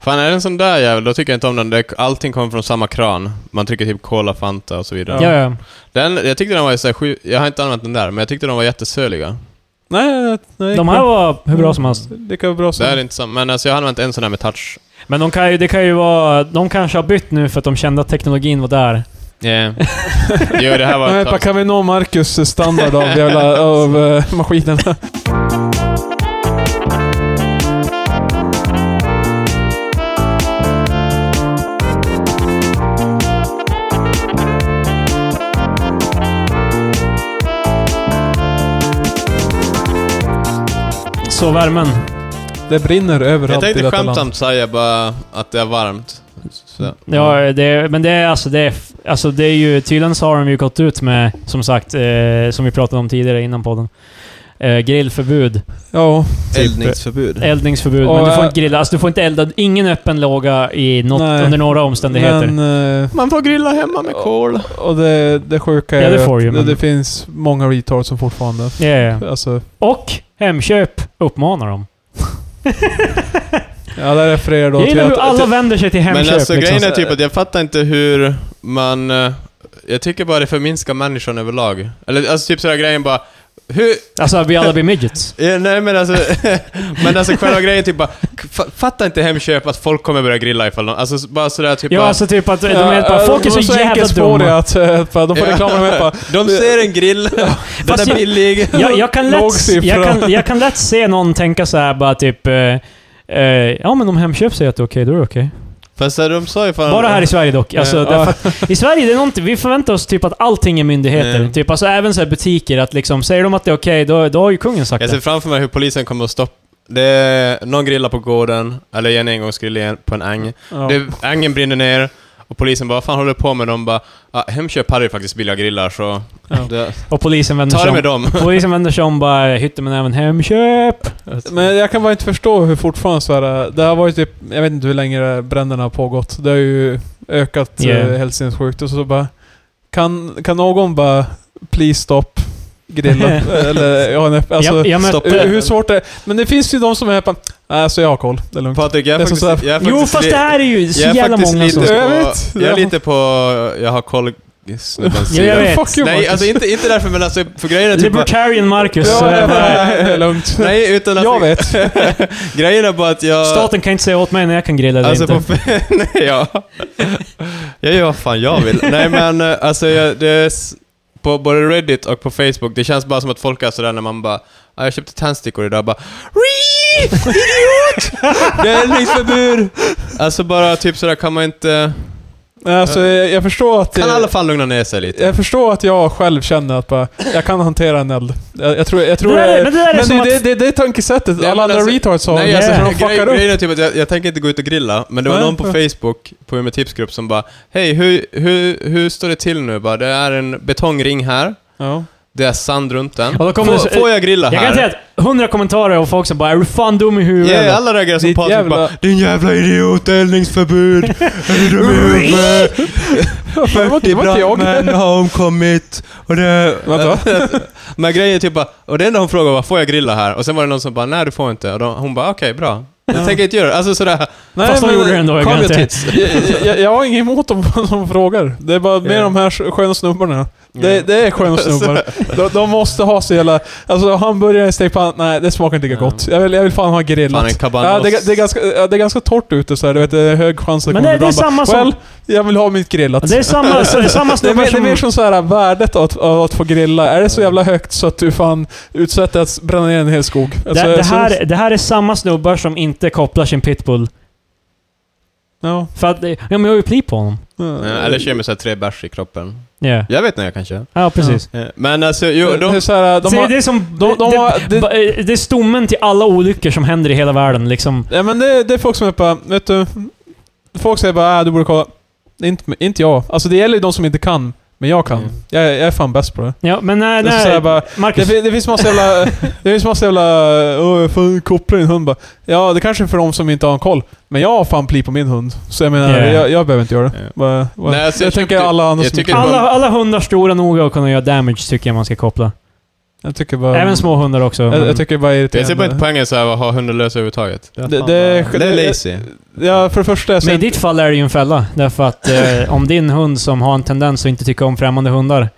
B: Fan, är det en sån där jävel, då tycker jag inte om den. Det- Allting kommer från samma kran. Man trycker typ Cola, Fanta och så vidare.
C: Ja, ja.
B: Den, jag tyckte den var så här, sju, Jag har inte använt den där, men jag tyckte de var jättesöliga.
D: Nej, nej, nej, nej.
C: De här var hur bra som
D: Mm.
C: helst.
D: Lika bra som...
B: Det här är inte samma. Men alltså, jag har använt en sån där med touch.
C: Men de, kan ju, det kan ju vara, de kanske har bytt nu för att de kände att teknologin var där.
B: Yeah. *laughs* jo,
C: *laughs*
B: det här var
D: Nej,
B: ett
D: bara,
B: tag.
D: kan vi nå Marcus standard av,
B: *laughs*
D: jävla, av eh, maskinerna?
C: Så värmen.
D: *laughs* Det brinner
B: Jag
D: överallt i
B: tänkte
D: detta land.
B: skämtsamt säga bara att det är varmt. Så,
C: Ja, det, men det är alltså det är, alltså det är ju... Tydligen så har de ju gått ut med, som sagt, eh, som vi pratade om tidigare innan podden. Eh, grillförbud,
D: Ja,
C: typ.
B: Eldningsförbud.
C: eldningsförbud,
D: Och,
C: men du får
D: eh,
C: inte grilla. Alltså du får inte elda, ingen öppen låga i något,
D: Nej.
C: under några omständigheter.
D: men... eh,
B: Man får grilla hemma med kol.
D: och det, det sjuka är
C: Ja, det
D: ju
C: får
D: att
C: ju,
D: det,
C: men-
D: det finns många retards som fortfarande...
C: Ja, ja.
D: Alltså,
C: Och Hemköp uppmanar dem.
D: ja, det refererar då
C: Jag
D: till
C: gillar hur
D: att...
C: alla
D: till-
C: vänder sig till Hemköp.
B: Men alltså
C: liksom.
B: grejen är typ att jag fattar inte hur man... eh, Jag tycker bara det förminskar människan överlag. Eller alltså typ sådär grejen bara... Hur...
C: Alltså vi alla blir
B: *laughs*
C: midgets.
B: eh, Nej men alltså... men alltså själva grejen typ bara... fa- Fattar inte Hemköp att folk kommer börja grilla ifall de... Alltså s- bara sådär typ
C: Ja,
B: bara...
C: alltså typ att de
D: Ja,
C: är helt bara,
D: eh,
C: folk är
D: de
C: så, jävla
D: enkelspåriga
C: dumma.
D: Att, eh, att bara, de får reklamen med bara...
B: De ser en grill, *laughs* den
C: Fast
B: är
C: jag-
B: billig.
C: Jag, jag, kan
D: Låg
C: lätt,
D: siffra.
C: jag, kan, jag kan lätt se någon tänka så här bara typ... Eh, eh, ja men om Hemköp säger att det är okej, då är det okej.
B: Fast eh, de sa ju fan...
C: Bara här i Sverige dock. Alltså,
B: Ja.
C: därför att, I Sverige, det är någonting, vi förväntar oss typ att allting är myndigheter.
B: Mm.
C: Typ, alltså även så här butiker, att liksom, säger de att det är okej, då, då har ju kungen sagt
B: Jag ser
C: det.
B: framför mig hur polisen kommer att stoppa... Det är någon grillar på gården, eller en engångsgrill i en- på en äng.
D: Ja.
B: Det, ängen brinner ner Och polisen bara, vad fan håller du på med? De bara, ah, Hemköp hade ju faktiskt billiga grillar så...
D: Ja.
B: Det,
C: Och polisen vänder
B: ta
C: sig
B: det
C: om.
B: med dem.
C: Polisen vänder sig om bara, hytter men även Hemköp.
B: Alltså.
D: Men jag kan bara inte förstå hur fortfarande så här, äh, det har varit typ, jag vet inte hur länge det här bränderna har pågått. Det har ju ökat
C: Yeah.
D: yeah. helt sinnessjukt och så bara, kan, kan någon bara please stopp
C: *laughs*
D: grilla? Eller ja, nej, alltså,
C: jag, jag
B: stopp.
C: mötte...
D: hur, hur svårt är det? Men det finns ju de som är på, nej så jag har koll, det är lugnt.
B: Patrik, jag är
D: Det är som
B: faktiskt...
D: så här-
B: Jag är
C: Jo
B: faktiskt
C: fast
B: li-
C: det här är ju så
B: jag är
C: jävla
B: faktiskt
C: många som...
B: lite
D: Jag
B: på,
D: vet.
B: jag är lite på, jag har koll snubbens
C: Ja, jag
B: sida.
C: vet.
D: Fuck you,
B: Nej,
D: Marcus.
B: alltså inte, inte därför men alltså för grejen är typ bara,
C: Libertarian Marcus. så
D: ja,
C: det är
D: nej,
C: bara-
D: nej, nej, det är lugnt.
B: Nej, utan alltså,
D: Jag
B: *laughs*
D: vet.
B: grejen är bara att jag...
C: Staten kan inte säga åt mig när jag kan grilla eller
B: Alltså
C: inte.
B: på *laughs* fe- Nej, ja. Jag gör vad fan jag vill. Nej men eh, alltså jag, det är s- på både Reddit och på Facebook, det känns bara som att folk är sådär när man bara ah, jag köpte tändstickor idag bara "Rii, Idiot!
C: *laughs*
B: Bränningsförbud! Alltså bara typ sådär kan man inte...
D: Alltså, jag, jag förstår att...
B: Kan
D: det-
B: alla fan lugna ner sig lite?
D: jag förstår att jag själv känner att bara, jag kan hantera en eld. Jag, jag tror... Jag
C: Det
D: tror
C: där är- men det där är
D: men
C: som
D: det,
C: att-
D: det, det, det är tankesättet
B: Ja,
D: alla
B: men
D: andra
B: alltså-
D: retards har.
B: Nej, alltså,
D: när
C: yeah.
D: de fuckar
B: grej,
D: upp.
B: grejen är typ att jag, jag tänker inte gå ut och grilla, men det var
D: Nej.
B: någon på Facebook, på min tipsgrupp, som bara Hej, hur, hur, hur står det till nu? Bara, det är en betongring här,
D: Ja.
B: det är sand runt den.
C: Och då kommer
B: får,
C: det så-
B: får jag grilla
C: Jag
B: här?
C: kan säga att 100 kommentarer och folk som bara är du fan dum i huvudet?
B: Ja, alla reagerar som
D: Ditt
B: Patrik
D: jävla-
B: bara Din jävla idiot, eldningsförbud! Är du dum i
D: *laughs*
B: huvudet?
D: Det var inte- det var inte jag.
B: brandmän har omkommit och det...
D: Vänta.
B: *laughs* Men grejen är typ bara, och det enda hon frågade var får jag grilla här? Och sen var det någon som bara nej du får inte. Och då, hon bara okej, bra. Jag tänker inte göra det. Alltså sådär,
D: Nej,
C: Fast de
D: men-
C: gjorde det ändå, jag
D: Kom,
C: kan
D: jag,
C: inte.
D: tits. jag, jag, jag har inget emot *laughs* dem som frågar. Det är bara mer
B: Ja.
D: de här sköna snubbarna. Det, det är sköna snubbar. De, de måste ha så jävla... Alltså hamburgare i stekpanna, nej det smakar inte lika
B: Ja.
D: gott. Jag vill, jag vill fan ha grillat.
B: fan en kabanos.
D: Ja, det, det, är ganska, ja, det är ganska torrt ute så här, du vet, det är hög chans att
C: Men det, det är
D: ibland
C: samma
D: bara,
C: som...
D: Well, jag vill ha mitt grillat.
C: Det är
D: *laughs*
C: samma, det är samma
D: Det är,
C: snubbar
D: mer, det är
C: som...
D: mer som så här äh, värdet av att, av att få grilla. Är det så jävla högt så att du fan utsätter att bränna ner en hel skog? Alltså,
C: Det, det,
D: så-
C: här, det här är samma snubbar som inte kopplar sin pitbull.
D: Ja.
C: För att, det- ja men jag har ju pli på honom.
B: Ja, Eller kör med såhär tre bärs i kroppen.
C: Ja,
B: Jag vet när jag kan köra.
C: ja precis.
B: Ja, Men alltså, jo,
C: Eh,
D: det
B: de...
D: är så här, äh, de
C: Så
D: har,
C: det är som...
D: de- de har-
C: det,
D: det-
C: ba- eh, det är stommen till alla olyckor som händer i hela världen liksom.
D: ja, men det, det är folk som är bara, vet du. Folk säger bara äh, du borde kolla. Det är Inte, inte jag. Alltså det gäller ju de som inte kan. Men jag kan.
B: Mm.
D: Jag, jag är fan bäst på det.
C: Ja, men nej,
D: Det är så här
C: nej.
D: bara, Det,
C: Marcus.
D: fin- det finns massa jävla... Det finns massa jävla... Åh, jag får koppla din hund bara. Ja, det kanske är för de som inte har en koll. Men jag har fan pli på min hund. Så jag menar,
C: Yeah.
D: jag, jag behöver inte göra det.
B: Yeah.
D: Bara, bara.
B: Nej, alltså,
D: jag,
B: jag
D: tänker
B: köpte-
D: alla andra
B: jag
D: som
B: tycker-
D: inte-
C: Alla, alla hundar stora nog att kunna göra damage tycker jag man ska koppla.
D: Jag tycker bara...
C: Även små hundar också. men-
D: Jag, jag tycker bara
B: Mm. Jag ser bara inte
D: irriterande.
B: poängen såhär att ha hundar lösa överhuvudtaget. Det
D: Det- det-
B: fan bara- det är lazy.
D: Ja, för det första... Jag
C: Men i
D: ser,
C: ditt fall är det ju en fälla. Därför att
D: *laughs*
C: eh, om din hund som har en tendens att inte tycka om främmande hundar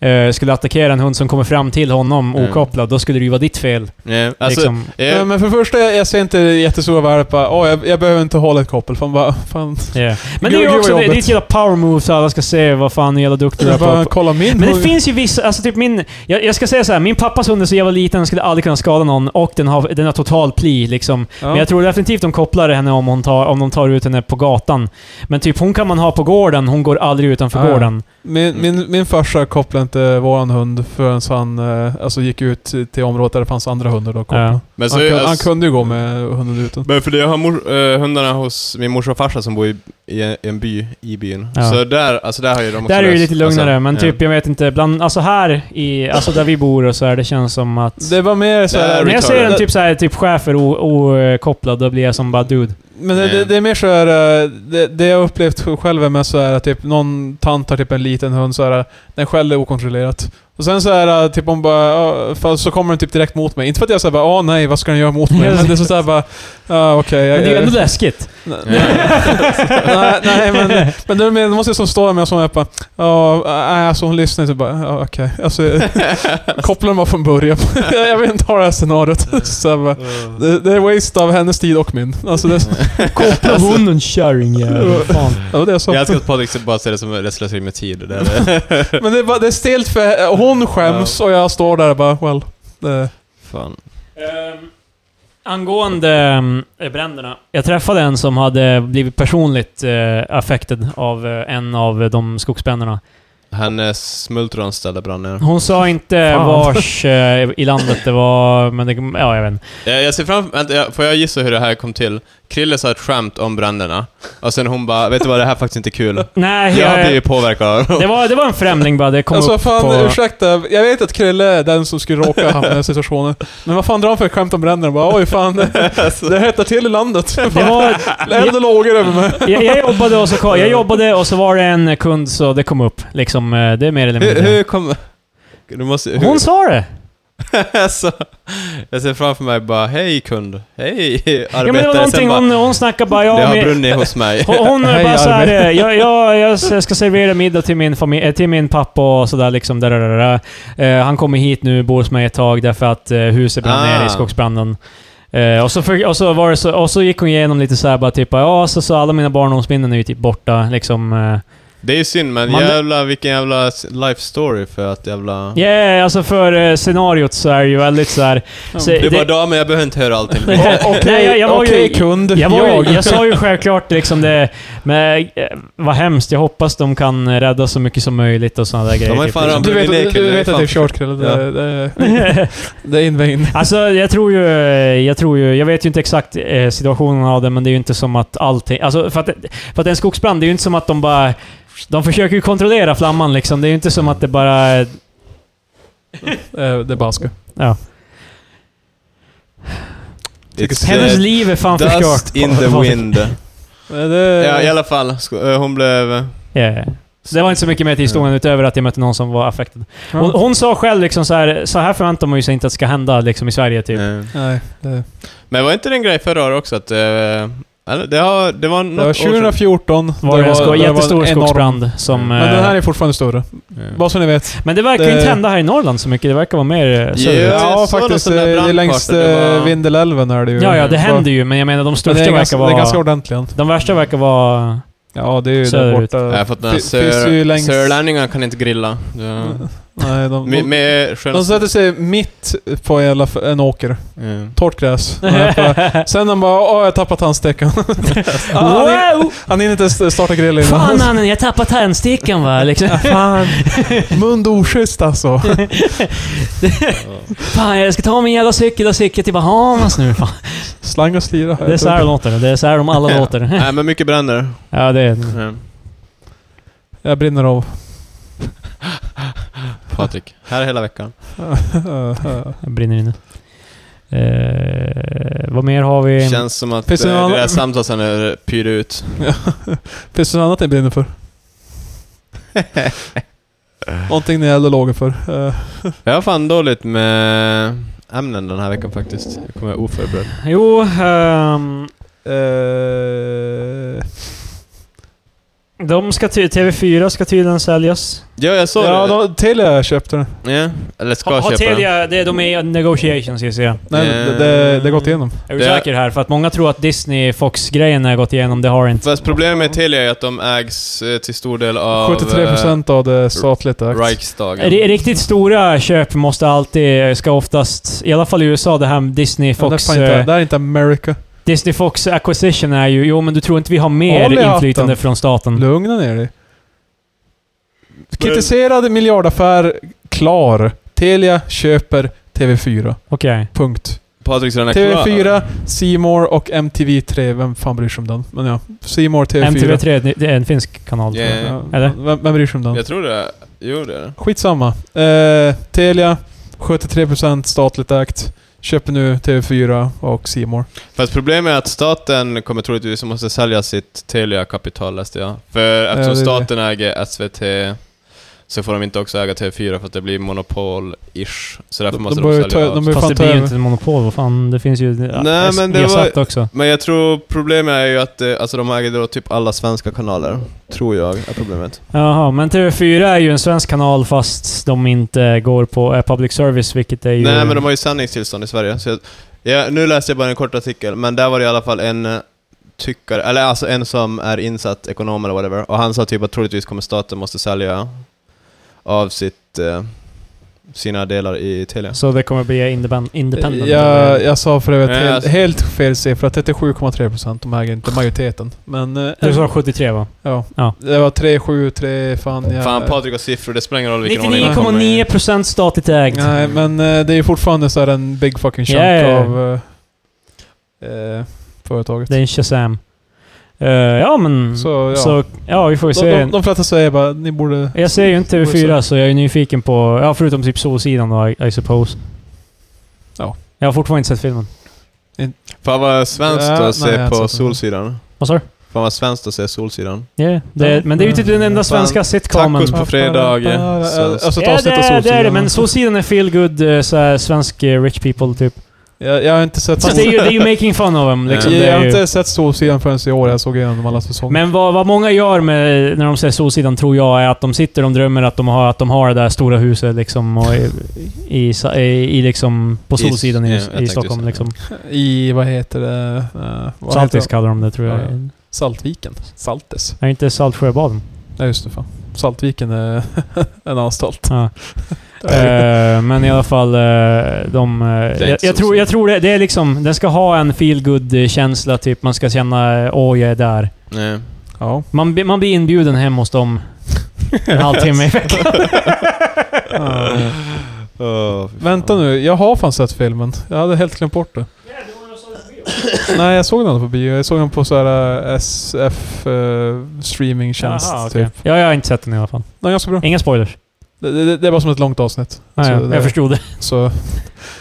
B: Ja.
C: eh, skulle attackera en hund som kommer fram till honom
B: Mm.
C: okopplad, då skulle det ju vara ditt fel.
B: Ja, Alltså,
C: liksom.
D: Ja,
B: jag,
D: men för det första, jag, jag ser inte jättestora värdet bara... Åh, jag, jag behöver inte hålla ett koppel. Fan, bara, fan.
C: Ja. Men det
D: Gud,
C: är ju
D: gud,
C: också
D: vad
C: det, det är
D: jobbigt.
C: ett jävla power move så alla ska se vad fan hur jävla duktig du är
D: Jag bara,
C: på.
D: kolla min
C: Men det
D: hund.
C: finns ju vissa, alltså typ min, jag, jag ska säga så här, min pappas hund är så jävla liten, den skulle aldrig kunna skada någon och den har, den har total pli liksom.
D: Ja.
C: Men jag tror definitivt de kopplar henne om, hon tar, om de tar ut henne på gatan. Men typ hon kan man ha på gården, hon går aldrig utanför
D: Ah, ja.
C: gården.
D: Min, min, min farsa kopplade inte våran hund förrän han eh, alltså, gick ut till området där det fanns andra hundar. Då kopplade.
C: Ja.
B: men så,
D: Han, kunde, han
B: alltså,
D: kunde ju gå med hunden ute.
B: men för det, jag har mor, eh, hundarna hos min morsa och farsa som bor i, i en- i en by, i byn.
C: Ja.
B: Så där, alltså där har ju de också
C: Där är det
B: löst-
C: lite lugnare,
B: alltså,
C: men
B: ja.
C: typ jag vet inte, bland, alltså här i, alltså där vi bor och så här, det känns som att...
D: Det var mer så
B: Det är
D: här,
C: när jag ser en
B: retarded.
C: typ såhär, typ chefer okopplad, då blir jag som bara dude.
D: Men det, det, det är mer så här, eh, det, det jag upplevt själv är med så här, typ någon tant har typ en liten hund så här, den skäller okontrollerat. Och sen så här, eh, typ hon bara, ja, för- så kommer den typ direkt mot mig. Inte för att jag säger bara, åh nej, vad ska den göra
C: *laughs*
D: mot mig? Men det är så här bara, ja okej. jag-
C: Men det är ju
D: jag-
C: ändå läskigt.
D: nej, nej, men, men då men då måste jag som står med och som är bara, ja, nej, alltså hon lyssnar inte bara, ja okej. Alltså, kopplar man från början. *laughs* jag vill inte ha det här scenariot. så här, bara,
B: Mm.
D: det, det är waste av hennes tid och min. Alltså det,
B: *laughs*
C: Koppla hunden kärringjävel. Fan.
D: det var det jag sa.
B: Alltså, Jag älskar att Patrik bara ser det som ett slöseri med tid. Det är
C: *laughs*
B: det.
D: Men det är, bara, det är stelt för hon skäms och jag står där och bara well. Det,
B: Fan.
C: Ehm, angående ehm, bränderna. Jag träffade en som hade blivit personligt eh, affected av eh, en av eh, de skogsbränderna.
B: Hennes smultron ställde brann ner.
C: Hon sa inte
D: Fan.
C: vars eh, i landet det var, men det, ja jag vet inte.
B: Eh, Jag ser framför vänta, jag- får jag gissa hur det här kom till? Krille sa ett skämt om bränderna, och sen hon bara 'Vet du vad, det här är faktiskt
C: *laughs*
B: inte kul'
C: Nej,
B: Jag har
C: jag,
B: blivit påverkad av
C: det, var, det var en främling bara. Det kom
D: Alltså
C: upp
D: fan,
C: på...
D: ursäkta. Jag vet att Krille är den som skulle råka hamna i den här situationen. Men vad fan drar han för skämt om bränderna? Bara, Oj fan,
C: *laughs* Alltså.
D: det hettar till i landet.
C: Det var,
D: Eld och lågor över mig.
C: jag, jag, jobbade och så, kom- jag jobbade och så var det en kund så det kom upp. Liksom, eh, det är mer eller
B: Hur,
C: mindre.
B: hur kom... Du måste... Hur, *laughs*
C: Hon sa det!
B: alltså, jag ser framför mig bara 'Hej kund, hej arbetare'
C: Ja, men det var
B: sen
C: någonting,
B: bara,
C: hon, hon snackade bara...
B: Det
C: Ja,
B: har
C: men,
B: brunnit hos mig.
C: *laughs* Hon,
B: *laughs*
C: hon
D: Hej,
C: bara såhär,
D: Arvid.
C: eh, jag, jag, jag s- ska servera middag till min, familj, eh, till min pappa och sådär liksom. Där, där, där, där. Eh, han kommer hit nu, bor hos mig ett tag därför att eh, huset brann ner
B: Ah.
C: i skogsbranden. Eh, och, så för, och, så var det så, och så gick hon igenom lite såhär bara typ ja, så, så alla mina barndomsminnen är ju typ borta liksom. Eh,
B: Det är ju synd men
C: Man-
B: jävla vilken jävla life story för att jävla...
C: yeah, alltså för eh, scenariot så är det ju väldigt såhär... Så,
B: Du bara
C: det-
B: 'Damen, jag behöver inte höra allting'
C: Nej, *laughs*
D: Okej,
C: jag- jag var ju-
D: okej, kund.
C: Jag, var ju, jag sa ju självklart liksom det, men eh, vad hemskt, jag hoppas de kan eh, rädda så mycket som möjligt och sådana där grejer.
B: har ju
C: typ,
B: fan
C: liksom.
D: Du
B: Det är
D: vet,
B: kul, det
D: du
B: är
D: vet att det är
B: fan-
D: kört Krille. Det, det,
B: *laughs*
D: det är invägd.
C: Alltså jag tror ju, jag tror ju, jag vet ju inte exakt eh, situationen av det, men det är ju inte som att allting, alltså för att, för att en skogsbrand, det är ju inte som att de bara, de försöker ju kontrollera flamman liksom, det är ju inte som att det bara,
D: Eh, Det är baska.
C: ja.
B: It's,
C: typ, Hennes
B: eh,
C: liv är fan förstört.
B: Dust
C: *laughs*
B: in the wind.
D: Eh, Det,
B: ja, i alla fall. sko- eh, Hon blev...
C: Yeah. Så det var inte så mycket mer till historien utöver att jag mötte någon som var affekted.
D: Ja.
C: Hon, hon sa själv liksom så här, så här förväntar man ju sig inte att det ska hända liksom i Sverige typ.
B: eh,
D: Nej, det,
B: Men var inte det en grej förra året också att... eh, Eller, det, har, det var
D: det
B: något
D: var
B: år
D: 2014.
C: Var det, en sko-
D: var en
C: jättestor
D: enorm-
C: skogsbrand som...
D: Men den
C: eh,
D: här är fortfarande större.
B: sedan.
D: Bara så ni vet.
C: men det verkar ju
D: det-
C: inte hända här i Norrland så mycket, det verkar vara mer eh, söderut.
B: Ja,
D: Ja,
B: jag såg någon
D: faktiskt.
B: sån där
D: Det är
B: brandkarta,
D: längs
B: det
D: eh,
B: var-
D: Vindelälven är det ju.
C: Ja, ja, det
D: Så-
C: händer ju, men jag menar de
D: Men det
C: största
D: är,
C: verkar
D: ganska, det är ganska
C: vara...
D: ordentligt.
C: De värsta verkar vara...
D: Ja, det är ju där
C: Söderut.
D: borta.
B: Nej, för att den här
D: Fi- finns ju
B: sör,
D: längs-
B: sörlänningar kan inte grilla. Ja.
D: Nej, de,
B: Med,
D: de,
B: med skön...
D: de sätter sig mitt på en, jävla, f- en åker.
B: Ja.
C: *laughs*
D: Torrt gräs. Och jag bara- Sen de bara åh, jag har tappat handstickan. han, hinner-
C: wow!
D: han hinner inte ens starta grillen
C: Fan
D: innan.
C: mannen, jag tappade tändstickan va?
D: *laughs*
C: Liksom. *laughs*
D: Fan. Mund oschysst alltså.
C: Fan, jag ska ta min jävla cykel och cykla till Bahamas nu. Fan.
D: Slang och slira.
C: Det är så här de låter. Det är så här de alla
B: Ja.
C: låter.
B: Nej, men mycket bränder.
C: Ja, det är...
B: Ja.
D: Jag
C: *laughs*
D: brinner av.
B: Patrik. Här hela veckan.
C: Jag brinner inne. Eh, vad mer har vi?
B: Känns som att eh,
D: Finns det någon
B: det där
D: annan-
B: samtalet nu pyr ut.
D: Finns det något annat ni brinner för? Någonting ni är eller låg för? Eh,
B: Jag har fan dåligt med ämnen den här veckan faktiskt. Jag kommer oförberedd.
C: Jo, ehm,
D: eh,
C: de ska ty- TV4 ska tydligen säljas.
B: Ja, jag såg
D: ja,
B: det.
D: de, Telia köpte den.
B: Ja, eller ska
C: Har har
B: köpa den.
C: Telia... Det, de är i negotiations gissar jag.
D: Nej,
B: Eh.
D: det, det, det har gått igenom.
C: Är du
B: Det-
C: säker här? För att många tror att Disney, Fox-grejen har gått igenom. Det har det inte.
B: Fast problemet med Telia är att de ägs eh, till stor del av...
D: 73% av det statligt
B: eh,
D: ägt.
B: Riksdagen.
C: Ri- Riktigt stora köp måste alltid, ska oftast, i alla fall i USA, det här med Disney
D: Men det, är
C: Fox...
D: fan inte,
C: eh,
D: det här är inte America.
C: Disney Fox acquisition är ju, jo men du tror inte vi har
D: Håll i
C: mer
D: hatten.
C: inflytande från
B: Mm.
C: staten?
D: Lugna ner dig. Kritiserad miljardaffär klar. Telia köper TV4.
C: Okej.
D: Punkt.
B: Patrik så den är
D: TV4, C More och MTV3. Vem fan bryr sig om den? Men ja, C More, TV4.
C: MTV3, det- det är en finsk kanal tror jag.
B: Yeah.
D: Ja,
C: Eller?
D: Vem, vem bryr sig om den?
B: Eh, Jag tror det. Jo, det är det.
D: Skitsamma. Eh, Telia, 73% statligt ägt. Köper nu TV4 och C More.
B: Fast problemet är att staten kommer troligtvis måste sälja sitt Telia-kapital läste jag. För eftersom
D: det är det.
B: staten äger SVT så får de inte också äga TV4 för att det blir monopol-ish. Så därför
D: De-
B: måste
D: de bör
B: de,
D: ju
B: sälja
D: ta-
B: av.
D: de bör-
C: Fast det
D: fan ta
C: blir ju
D: över.
C: inte ett monopol, vad fan. Det finns ju ja,
B: Nej,
C: S-
B: men det
C: Viasat också.
B: Men jag tror problemet är ju att eh, alltså, de äger då typ alla svenska kanaler. Tror jag är problemet.
C: Jaha, men TV4 är ju en svensk kanal fast de inte går på eh, public service, vilket är ju...
B: Nej men de har ju sändningstillstånd i Sverige. Så jag, ja, nu läste jag bara en kort artikel, men där var det i alla fall en eh, tyckare, eller alltså en som är insatt ekonom eller whatever, och han sa typ att troligtvis kommer staten måste sälja av sitt, eh, sina delar i Telia.
C: Så det kommer bli independ- independent?
D: Jag, jag sa för övrigt
B: Nej,
D: helt,
B: alltså-
D: helt fel siffra. 37,3%. De äger inte majoriteten. Men... eh,
C: Du sa 73 va?
D: Ja.
C: Ja.
D: Det var 3, 7, 3, fan jag...
B: Fan Patrik har siffror, det spelar ingen roll vilken ordning de kommer i.
C: 99,9% statligt ägt.
D: Nej, men eh, det är ju fortfarande så här en big fucking chunk
C: Yeah.
D: av... eh, eh, företaget.
C: Det är en Shazam. Eh, ja, men... Så,
D: Så ja.
C: ja. vi får ju
D: de,
C: se.
D: de, de flesta säger bara ni borde...
C: jag ser ju inte TV4 så jag är nyfiken på... Ja, förutom typ Solsidan då, I, I suppose.
D: Ja.
C: Jag har fortfarande inte sett filmen.
B: Fan vad svenskt
D: Ja, nej,
B: att se
D: jag har
B: på
D: sett den.
B: Solsidan.
C: Vad sa du?
B: Fan vad svenskt att se Solsidan.
C: Ja, det-
D: Ja.
C: Men det är ju typ den enda
B: Fan,
C: svenska sitcomen.
B: tacos på fredag, eh, svenskt.
D: Alltså ett
C: Ja, det
D: avsnitt av
C: är det, är det,
D: Solsidan.
C: men Solsidan är feel good eh, såhär, svensk eh, rich people typ.
D: Jag, jag har inte sett
C: Fast det är ju, det är ju making fun of dem liksom.
B: Ja.
C: Det
D: jag
C: är
D: har
C: ju,
D: inte sett Solsidan förrän i år. Jag såg igenom alla säsonger.
C: men vad, vad många gör med, när de ser Solsidan tror jag är att de sitter och drömmer att de har, att de har det där stora huset liksom, och i, i, sa- i, i liksom, på
B: I-
C: Solsidan
B: ja,
C: i,
B: jag
C: i
B: tänkte
C: Stockholm
B: säga,
C: liksom.
D: I, vad heter det? Eh, vad
C: Saltis
D: heter det?
C: kallar de det tror jag.
D: Ja, ja. Saltviken. Saltes.
C: Är inte Saltsjöbaden?
D: Ja just det, fan. Saltviken är *laughs* en anstalt.
B: *laughs*
C: Ja. Eh, men i alla fall, eh, de... eh,
B: inte
C: jag, jag,
B: så
C: tror, jag tror det, det är liksom... Den ska ha en feel good känsla typ. Man ska känna eh, åh, jag är där.
B: Nej.
D: Ja.
C: Man, blir- man blir inbjuden hem hos dem
B: *laughs*
C: en halvtimme i veckan.
B: Åh, fy fan.
D: Vänta nu, jag har fan sett filmen. Jag hade helt glömt bort det. Nej, jag såg den aldrig på bio. Jag såg den på så här eh, SF eh, streamingtjänst.
C: Jaha, okej.
D: typ.
C: Ja, jag har inte sett den i alla fall.
D: Nej, ganska bra.
C: Inga spoilers.
D: Det, det, det är bara som ett långt avsnitt.
C: Nej,
D: Så
C: jag,
D: det-
C: jag förstod det.
D: Så,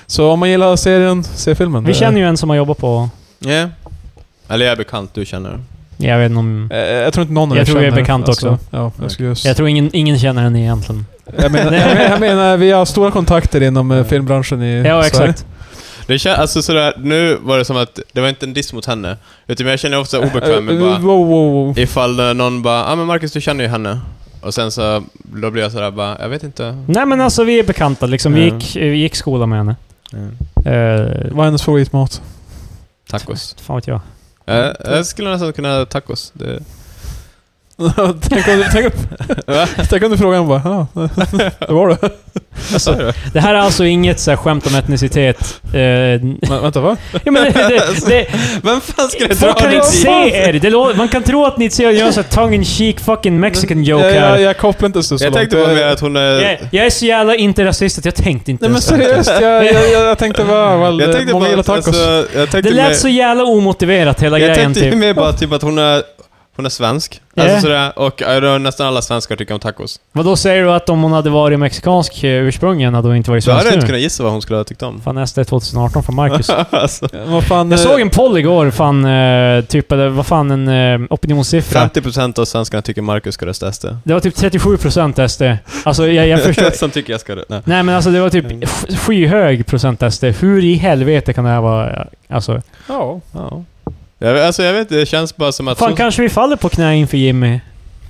D: så om man gillar serien, se filmen.
C: Vi känner ju en som har jobbat på...
B: Ja. Eller jag är bekant, du känner.
C: Jag vet inte om...
D: Eh, Jag tror inte någon av
C: Jag
D: er
C: tror vi är
D: känner, alltså.
C: bekant också.
D: Ja, jag skulle just...
C: Jag tror ingen, ingen känner henne egentligen.
D: Jag menar, jag menar, jag menar, vi har stora kontakter inom eh, filmbranschen i
C: Ja,
D: Sverige.
C: exakt.
B: Det känns, alltså sådär, nu var det som att det var inte en diss mot henne. Utan jag känner ofta obekväm med
D: Eh,
B: bara...
D: Wow, wow, wow.
B: Ifall eh, någon bara ah, men Marcus du känner ju henne” och sen så, då blir jag sådär bara, jag vet inte.
C: Nej men alltså vi är bekanta liksom. Vi
B: Ja.
C: gick, vi gick skola med henne.
B: Mm.
C: Eh,
D: Vad är hennes favoritmat?
B: Tacos.
C: fan vet jag.
B: Eh, jag skulle nästan kunna ha tacos. Det...
D: *laughs* tänk, om, tänk, om, *laughs* tänk om du frågar henne bara ja, det var det.
C: Det här är alltså inget så här, skämt om etnicitet. Eh,
D: Men, vänta va?
C: ja, men det, det, det,
B: Vem fan skulle dra
C: folk kan
B: det
C: inte
B: dit?
C: se er! Det lå- man kan tro att ni ser gör så här tongue in cheek fucking mexican joke
D: *laughs* jag, jag,
C: här.
D: jag kopplar inte så, så
B: Jag
D: långt.
B: tänkte bara mer att hon är...
C: Jag, jag är så jävla inte rasist att jag tänkte inte
D: Nej men
C: ens tanken.
D: seriöst, jag, jag, jag, jag tänkte bara... Well,
B: Jag tänkte
D: många
B: bara
D: gillar
B: att,
D: tacos.
B: alltså, jag tänkte
C: Det
B: mer-
C: lät så jävla omotiverat hela
B: Jag
C: grejen
B: tänkte ju
C: typ.
B: mer bara typ att hon är, hon är svensk.
C: Ja.
B: Alltså sådär, och jag tror nästan alla svenskar tycker om tacos.
C: Vad då säger du att om hon hade varit mexikansk eh, ursprungligen hade hon inte varit
B: Så hade jag
C: svensk
B: inte
C: nu?
B: kunnat gissa vad hon skulle ha tyckt om.
C: Fan SD 2018 från Marcus.
B: *laughs* alltså,
D: Vad fan,
C: Jag
D: eh,
C: såg en poll igår, fan, eh, typ, eller vad fan, en eh, opinionssiffra.
B: 50% av svenskarna tycker Marcus ska rösta SD.
C: Det var typ 37% SD. Alltså jag,
B: *laughs*
C: jag förstår...
B: Som tycker jag ska rösta... Nej.
C: Nej men alltså det var typ
B: Mm.
C: sk- skyhög procent SD. Hur i helvete kan det här vara... Alltså...
D: Ja.
B: Ja. Jag, vet- alltså jag vet det känns bara som att...
C: Fan
B: så-
C: kanske vi faller på knä inför Jimmy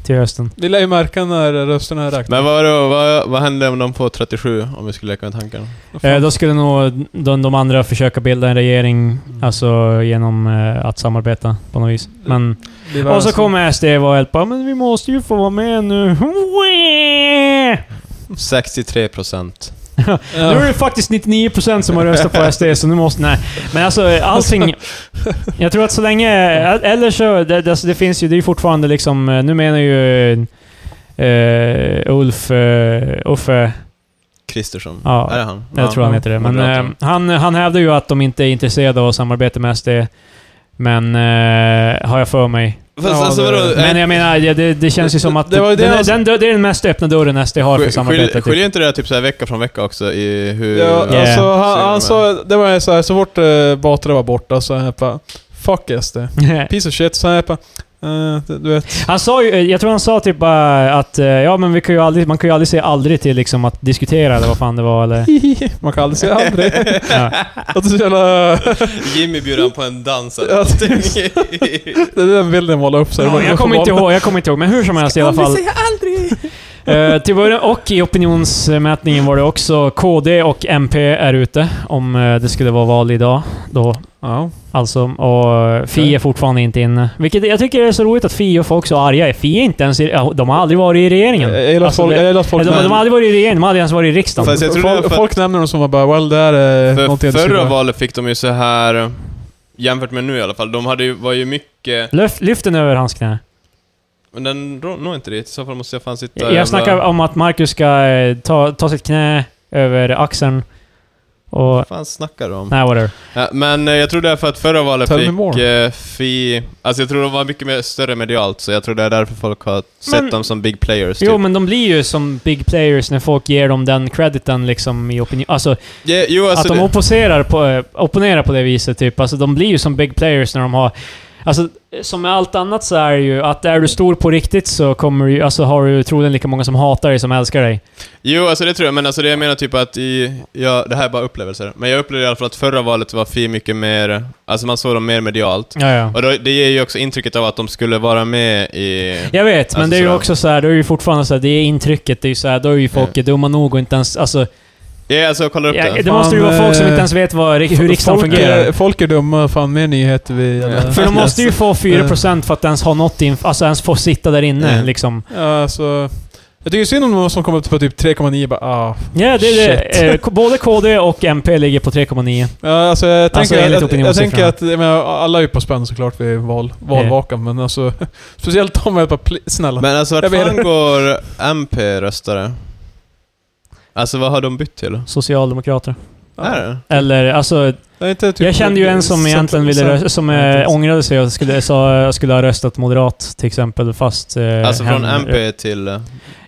C: till hösten.
D: Vi lär ju märka när rösterna är räknade.
B: Men vad, då, vad, vad händer om de får 37, om vi skulle leka med tanken?
C: Eh, då skulle nog de, de andra försöka bilda en regering,
B: Mm.
C: alltså genom eh, att samarbeta på något vis. Men...
D: Det är
C: Och så
D: världens-
C: kommer SD och hjälpa, men vi måste ju få vara med nu.
B: 63 procent.
C: Nu är
D: Ja.
C: det faktiskt 99% som har röstat på SD, så nu måste... Nej. Men alltså allting... Jag tror att så länge... Eller så... Det, det, alltså, det finns ju... Det är ju fortfarande liksom... eh, Nu menar ju... eh, Ulf... eh, Uffe...
B: Kristersson.
C: Ja,
B: är det han?
C: Jag tror han heter det. Men
B: Moderaterna.
C: eh, han, han hävdar ju att de inte är intresserade av att samarbeta med SD. Men... eh, har jag för mig.
B: Fast
D: ja,
B: alltså
D: det-
B: vadå?
C: Men jag menar, ja, det, det känns ju som att...
D: Det var ju det
C: den,
D: han-
C: den, dör- det är den mest öppna dörren SD har för
B: Skil-
C: samarbete.
B: skil-
C: typ.
B: Skiljer inte det typ så här vecka från vecka också i hur...
D: Ja,
C: Ja.
D: alltså
B: Så är det
D: han, han
B: med.
D: sa, det var så här, så fort eh, Batra var borta så här bara, Fuck SD. Piece of shit. Så här bara, eh, du- du vet.
C: *laughs*
D: *laughs*
C: Han sa ju, jag tror han sa typ bara att eh, ja, men vi kan ju aldrig, man kan ju aldrig säga aldrig till liksom att diskutera eller vad fan det var
D: *laughs*
C: eller...
D: Man kan aldrig säga aldrig.
B: *laughs*
C: Ja.
D: Att det, är så jävla,
B: Jimmy bjuder han på en dans eller
D: Ja,
B: någonting.
D: det är den bilden jag målar upp. Så här.
C: Ja, jag kommer inte ihåg, jag kommer inte ihåg, men hur som helst i alla fall. *laughs* Eh, till början, och i opinionsmätningen var det också KD och MP är ute om eh, det skulle vara val idag. Då,
D: Ja.
C: alltså. Och eh, Fi är fortfarande inte inne. Vilket jag tycker är så roligt att Fi och folk är så arga. Fi är inte ens i, ja, De har aldrig varit i regeringen.
D: Jag gillar att
C: Alltså,
D: folk,
C: det-
D: jag gillar att
C: Eller
D: folk,
C: de, de har aldrig varit i regeringen, de har aldrig ens varit i riksdagen.
B: Fast Eh, jag tror det är
D: folk,
B: för-
D: folk nämner dem som var bara well, det här är
B: *laughs*
D: någonting
B: För
D: jag inte skulle
B: förra
D: vara.
B: valet fick de ju så här jämfört med nu i alla fall, de hade ju, var ju mycket...
C: Lyft, lyft den över hans knä.
B: Men den rå- når inte dit, i så fall måste jag fan sitta...
C: Jag,
B: jävla-
C: jag snackar om att Marcus ska eh, ta, ta sitt knä över axeln. Och...
B: Vad fan snackar du om?
C: Nej, whatever.
B: Ja, men eh, jag tror det är för att förra valet
D: Tell me
B: fick
D: more.
B: eh, Fi... Alltså jag tror de var mycket mer, större medialt, så jag tror det är därför folk har sett
C: Men-
B: dem som big players.
C: Jo,
B: typ.
C: men de blir ju som big players när folk ger dem den crediten liksom i opinion... Alltså,
B: Ja, jo, alltså
C: att de
B: det,
C: opponerar på, eh, opponerar på det viset, typ. Alltså, de blir ju som big players när de har... Alltså, som med allt annat så är det ju att är du stor på riktigt så kommer du ju- Alltså, har du troligen lika många som hatar dig som älskar dig.
B: jo, alltså det tror jag, men alltså det jag menar typ att i... Ja, det här är bara upplevelser. Men jag upplevde i alla fall att förra valet var Fi mycket mer... Alltså man såg dem mer medialt.
C: Ja, ja.
B: Och då, det ger ju också intrycket av att de skulle vara med i...
C: Jag vet, men
B: Alltså,
C: det är ju
B: sådär.
C: också så här, då är ju fortfarande så här, det är intrycket, det är ju så här, då är ju folk dumma nog och inte ens... Alltså,
B: Ja, alltså jag kollar upp
C: ja,
B: det.
C: det måste ju vara
D: Fan,
C: folk som
D: eh,
C: inte ens vet vad, hur riksdagen
D: folk
C: fungerar.
D: Är, folk är dumma, fan mer nyheter vi... eller-
C: För de måste ju få 4% för att ens ha något inf- alltså ens få sitta där inne
B: Ja.
C: liksom.
D: Ja, alltså... Jag tycker synd om de som kommer upp på typ 3,9 bara ah.
C: Ja, det är det. Eh, k- Både KD och MP ligger på 3,9.
D: Ja, alltså jag tänker,
C: Alltså, enligt
D: jag, jag, tänker
C: opinionssiffrorna.
D: att, jag menar, alla är ju på spänn såklart vid val, valvakan, men alltså... *laughs* Speciellt de är bara, pl- snälla.
B: Men alltså vart
D: Jag vet
B: fan
D: inte.
B: går MP-röstare? Alltså vad har de bytt till?
C: Socialdemokrater.
D: Ja.
B: Är det?
C: Eller alltså,
D: Det är inte typ-
C: jag kände ju en som
D: cent-
C: egentligen ville
D: cent-
C: rösta, som
D: Ja,
C: eh,
D: precis.
C: ångrade sig och skulle, sa, jag skulle ha röstat moderat till exempel, fast... eh,
B: Alltså från
C: hen-
B: MP till... eh,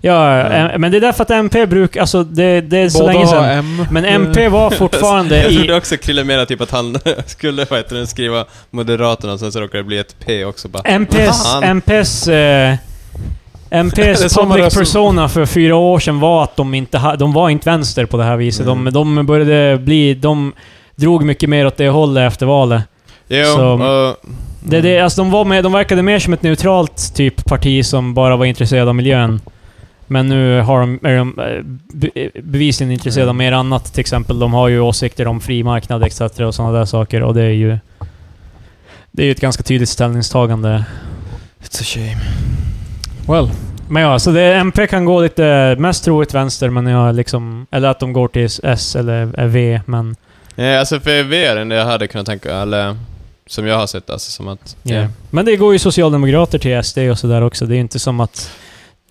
C: Ja,
B: Mm.
C: eh, men det är därför att MP brukar, alltså det, det är så
D: Båda
C: länge
D: har
C: sedan.
D: M. Mm.
C: Men MP
D: *laughs*
C: var fortfarande
B: Jag
C: i...
B: trodde också Krille menade typ att han *laughs* skulle vad heter det, skriva Moderaterna och sen så råkade det bli ett P också bara.
C: MPs,
B: Fan.
C: MPs, eh,
D: Det är
C: MPs
D: samma
C: public
D: röst som-
C: persona för fyra år sedan var att de inte ha, de var inte vänster på det här viset.
B: Mm.
C: De, de började bli... De drog mycket mer åt det hållet efter valet.
B: Jo,
C: Så-
B: och-
C: Det,
B: Mm.
C: det, alltså de, var med, de verkade mer som ett neutralt typ parti som bara var intresserade av miljön. Men nu har de, är de eh, be, bevisligen intresserade
B: Mm.
C: av mer annat. Till exempel, de har ju åsikter om fri marknad etc. och sådana där saker. Och det är ju... Det är ju ett ganska tydligt ställningstagande.
B: It's a shame.
D: Well.
C: Men ja, så det, MP kan gå lite mest troligt vänster, men jag liksom... Eller att de går till S eller V, men...
B: Ja, alltså för V är det jag hade kunnat tänka, eller som jag har sett alltså som att...
C: ja.
B: ja.
C: Men det går ju socialdemokrater till SD och sådär också. Det är ju inte som att...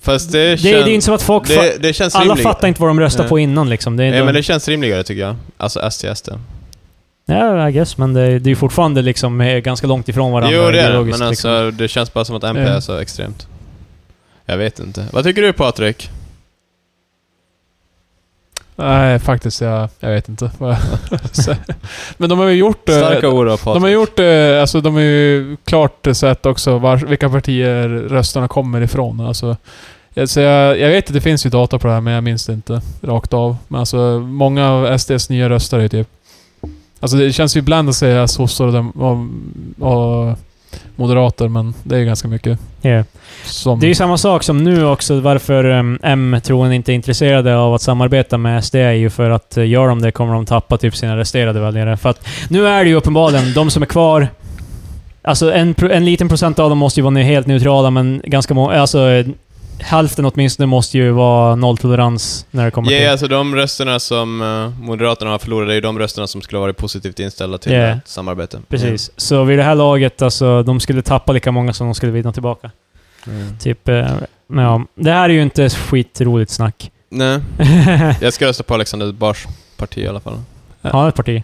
B: Fast
C: Det,
B: det
C: det, är ju inte
B: känns...
C: som att folk... fa-
B: Det, det känns
C: alla
B: rimligare.
C: fattar inte vad de röstar
B: Ja.
C: på innan liksom. Det är
B: Ja,
C: de,
B: men det känns rimligare tycker jag. Alltså S till SD.
C: Ja, I guess, men det, är- det är ju fortfarande liksom eh, ganska långt ifrån varandra
B: Jo, det är det, men
C: ideologiskt,
B: alltså
C: liksom.
B: det känns bara som att MP
C: Ja.
B: är så extremt. Jag vet inte. Vad tycker du Patrik?
D: Nej, faktiskt. Jag, jag vet inte vad jag *laughs* säger. Men de har ju gjort... eh,
B: Starka ord av Patrik.
D: De har gjort, eh, alltså de har ju klart sett också var, vilka partier rösterna kommer ifrån. Alltså, jag, så jag, jag vet att det finns ju data på det här men jag minns det inte rakt av. Men alltså många av SDs nya röstare är ju typ... Alltså det känns ju ibland att säga sossar och, dem- och, och moderater men det är ju ganska mycket
C: Ja.
D: som...
C: Det är ju samma sak som nu också, varför em, M troligen inte är intresserade av att samarbeta med SD är ju för att eh, gör de det kommer de tappa typ sina resterade väljare. För att nu är det ju uppenbarligen de som är kvar, alltså en, pro- en liten procent av dem måste ju vara nu helt neutrala men ganska många, alltså eh, hälften åtminstone måste ju vara nolltolerans när det kommer
B: Ja,
C: till...
B: alltså de rösterna som eh, Moderaterna har förlorat är ju de rösterna som skulle ha varit positivt inställda till
C: Ja.
B: ett samarbete. Mm.
C: Precis. Så vid det här laget, alltså, de skulle tappa lika många som de skulle vinna tillbaka.
B: Mm.
C: Typ, eh, men ja. Det här är ju inte skitroligt
B: *laughs*
C: snack.
B: Nej, jag ska rösta på Alexander Bars parti i alla fall.
C: Han är ett parti.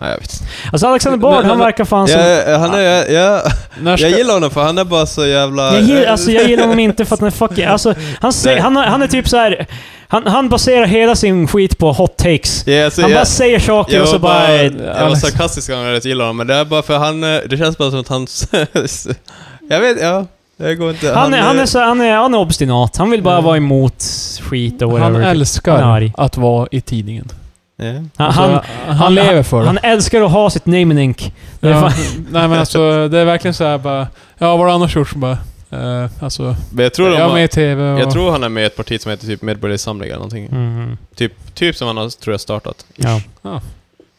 B: Nej, jag vet inte.
C: Alltså Alexander Bard,
B: Men-
C: han verkar fan som...
B: jag, han är, jag, jag,
D: När ska-
B: jag gillar honom för han är bara så jävla...
C: Jag gillar, alltså, jag gillar honom inte för att han är fucking... Alltså, han, säger,
B: Nej.
C: han, har- han är typ så här. Han, han baserar hela sin skit på hot takes.
B: *laughs* Ja, alltså,
C: Han
B: jag,
C: bara säger saker
B: jag
C: och så
B: var
C: bara...
B: bara, jag var
D: Alex-
B: sarkastisk när jag gillar honom, men det är bara för han... eh, Det känns bara som att han... *laughs* jag vet, ja. Det går inte.
C: han, är, han, är
B: eh,
C: så, han, är, han är obstinat. Han vill bara
B: Ja.
C: vara emot skit och
D: han
C: whatever.
D: älskar
C: Han är arg.
D: att vara i tidningen.
B: ja.
C: han,
D: Så
C: han,
D: han,
C: han-
D: lever för det.
C: han älskar att ha sitt name and ink. Det är
D: Ja,
C: fan- *laughs*
D: nej men alltså det är verkligen så här bara... Ja, vad har du annars gjort? Så Bara, eh, alltså,
B: Men jag tror, de
D: jag är
B: har,
D: med i TV och... Mm.
B: jag tror han är med i ett parti som heter typ Medborgerlig Samling eller någonting.
C: Mhm.
B: Typ, typ som han har, tror jag, startat. *laughs*
C: Ja.
D: Ja.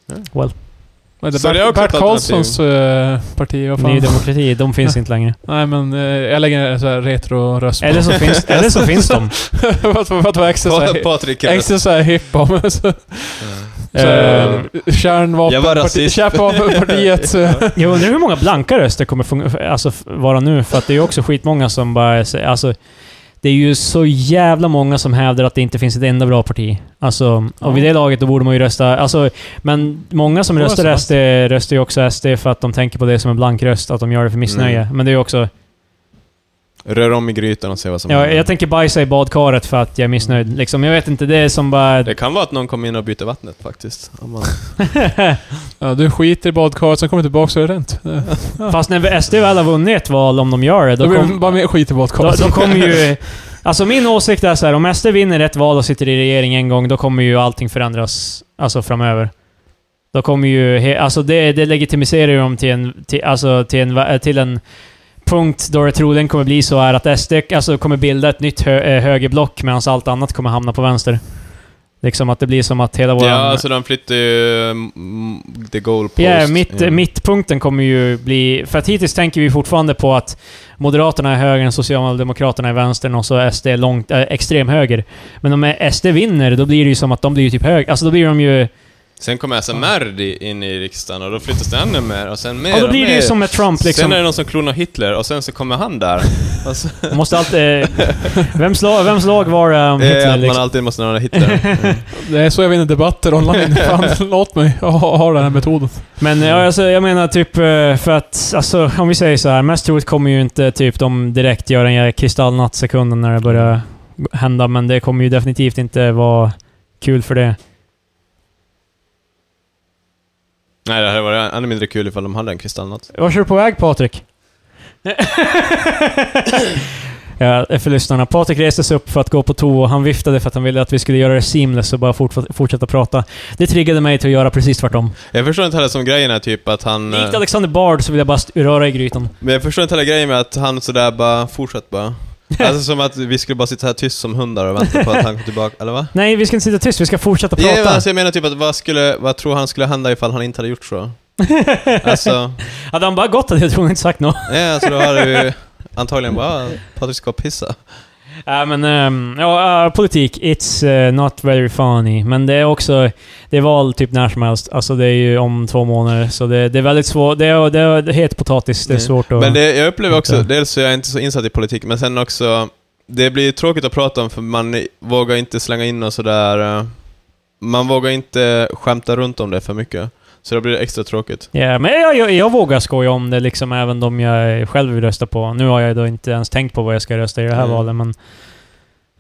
C: Well,
D: Vad heter
B: Så det är
D: Bert,
B: också
D: Bert
B: ett
D: Karlssons eh, parti, vad
C: Ny
D: fan?
C: Demokrati, de finns inte längre.
D: Nej men eh, jag lägger en sån här retro-röst
C: *laughs*
D: på.
C: Eller
D: *laughs*
C: så finns, eller så finns *laughs* de.
D: för att- för att vara extra
B: Pa-
D: såhär...
B: Patrik är
D: Extra såhär hipp om. *laughs* Så,
C: Eh,
D: eh, kärnvapen...
B: Jag var rasist. *laughs*
D: Kärnvapenpartiet. eh,
C: Jag undrar hur många blanka röster kommer funga, alltså, f- vara nu, för att det är ju också skitmånga som bara säger... Alltså, Det är ju så jävla många som hävdar att det inte finns ett enda bra parti. Alltså, och vid det laget då borde man ju rösta... Alltså, men många som
D: Några
C: röstar
D: som
C: SD röstar ju också SD för att de tänker på det som en blankröst, att de gör det för missnöje. Men det är ju också...
B: Rör om i grytan och se vad som
C: Ja,
B: händer.
C: jag tänker bajsa i badkaret för att jag är missnöjd. Liksom, jag vet inte, det är som bara...
B: Det kan vara att någon kommer in och byter vattnet faktiskt. Om man...
D: Ja, du skiter i badkaret, sen kommer du tillbaka så är det rent. Ja.
C: Fast när SD väl har vunnit ett val, om de gör det,
D: *laughs* Då
C: då,
D: blir
C: kom,
D: det bara mer skit i
C: då,
D: badkaret.
C: då kommer ju... Alltså min åsikt är så här, om SD vinner ett val och sitter i regering en gång, då kommer ju allting förändras alltså framöver. Då kommer ju... he- Alltså det, det legitimiserar ju dem till en, till, alltså till en, va- till en punkt då det troligen kommer bli så är att SD alltså kommer bilda ett nytt hö, eh, högerblock medan allt annat kommer hamna på vänster. Liksom att det blir som att hela våran...
B: Ja, alltså de flyttar ju mm, the goalpost.
C: Ja, mitt,
B: Ja.
C: mittpunkten kommer ju bli... För att hittills tänker vi fortfarande på att Moderaterna är högern, Socialdemokraterna är vänstern och så är SD långt, äh, extremhöger. Men om SD vinner, då blir det ju som att de blir ju typ höger. Alltså då blir de ju...
B: Sen kommer SMR i- in i riksdagen och då flyttas det ännu mer och sen mer
C: Ja, då blir
B: och
C: det
B: mer.
C: ju som med Trump
B: Sen är
C: liksom.
B: det någon som klonar Hitler och sen så kommer han där. Och så,
C: Man måste alltid... *laughs* Vems lag, vems lag var det *laughs* om
B: Eh,
C: Hitler
B: att man
C: liksom?
B: alltid måste
C: *laughs*
B: ha Hitler. Mm.
D: *laughs* Det är så jag vinner debatter online. Fan, låt mig ha, ha den här metoden.
C: Men ja, alltså, jag menar typ eh, för att... Alltså om vi säger så här, mest troligt kommer ju inte typ de direkt göra en jävla kristallnatt-sekunden när det börjar hända, men det kommer ju definitivt inte vara kul för det.
B: Nej, det hade varit ännu mindre kul ifall de hade en kristallnatt.
C: Vart är du på väg Patrik? ja, för lyssnarna. Patrik reste sig upp för att gå på toa och han viftade för att han ville att vi skulle göra det seamless och bara fort, fortsätta prata. Det triggade mig till att göra precis tvärtom.
B: Jag förstår inte heller som grejen är typ att han... eh,
C: Likt Alexander Bard så vill jag bara st- röra i grytan.
B: Men jag förstår inte hela grejen med att han sådär bara, fortsätt bara. Alltså som att vi skulle bara sitta här tyst som hundar och vänta på att han kom tillbaka, eller va?
C: Nej, vi ska inte sitta tyst. Vi ska fortsätta
B: Ja, men
C: prata.
B: alltså jag menar typ att vad skulle, vad tror han skulle hända ifall han inte hade gjort så? Alltså,
C: *laughs* Hade han bara gått hade jag troligen inte sagt något.
B: ja, alltså då hade vi antagligen bara, "Ah, Patrik ska pissa.
C: Ja, men ehm, ja, eh, politik. It's eh, not very funny. Men det är också... Det är val typ när som helst. Alltså det är ju om två månader. Så det, det är väldigt svårt. Det är, det är het potatis. Det är
B: Mm.
C: svårt att...
B: Men det, jag upplever också,
C: Inte.
B: dels så är jag inte så insatt i politik, men sen också, det blir tråkigt att prata om för man vågar inte slänga in och sådär, eh, man vågar inte skämta runt om det för mycket. Så då blir det extra tråkigt.
C: Ja, men jag, jag, jag vågar skoja om det liksom, även de jag själv vill rösta på. Nu har jag då inte ens tänkt på vad jag ska rösta i det här
B: Mm.
C: valet, men...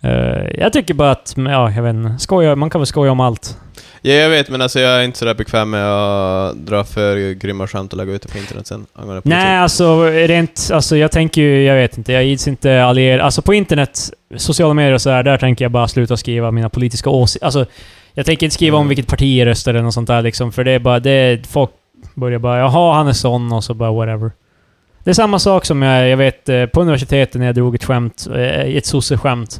C: eh, jag tycker bara att, men, ja, jag vet inte. Skoja, man kan väl skoja om allt.
B: Ja, jag vet, men alltså jag är inte sådär bekväm med att dra för grymma skämt och lägga ut det på internet sen. angående politik.
C: Nej, alltså rent... Alltså jag tänker ju, jag vet inte, jag ids inte alliera... Alltså på internet, sociala medier och sådär, där tänker jag bara sluta skriva mina politiska åsikter. Alltså, jag tänker inte skriva om
B: Mm.
C: vilket parti jag röstar eller något sånt där liksom, för det är bara... Det är, folk börjar bara ”Jaha, han är sån” och så bara whatever. Det är samma sak som jag, jag vet eh, på universitetet när jag drog ett skämt, eh, ett sosse-skämt.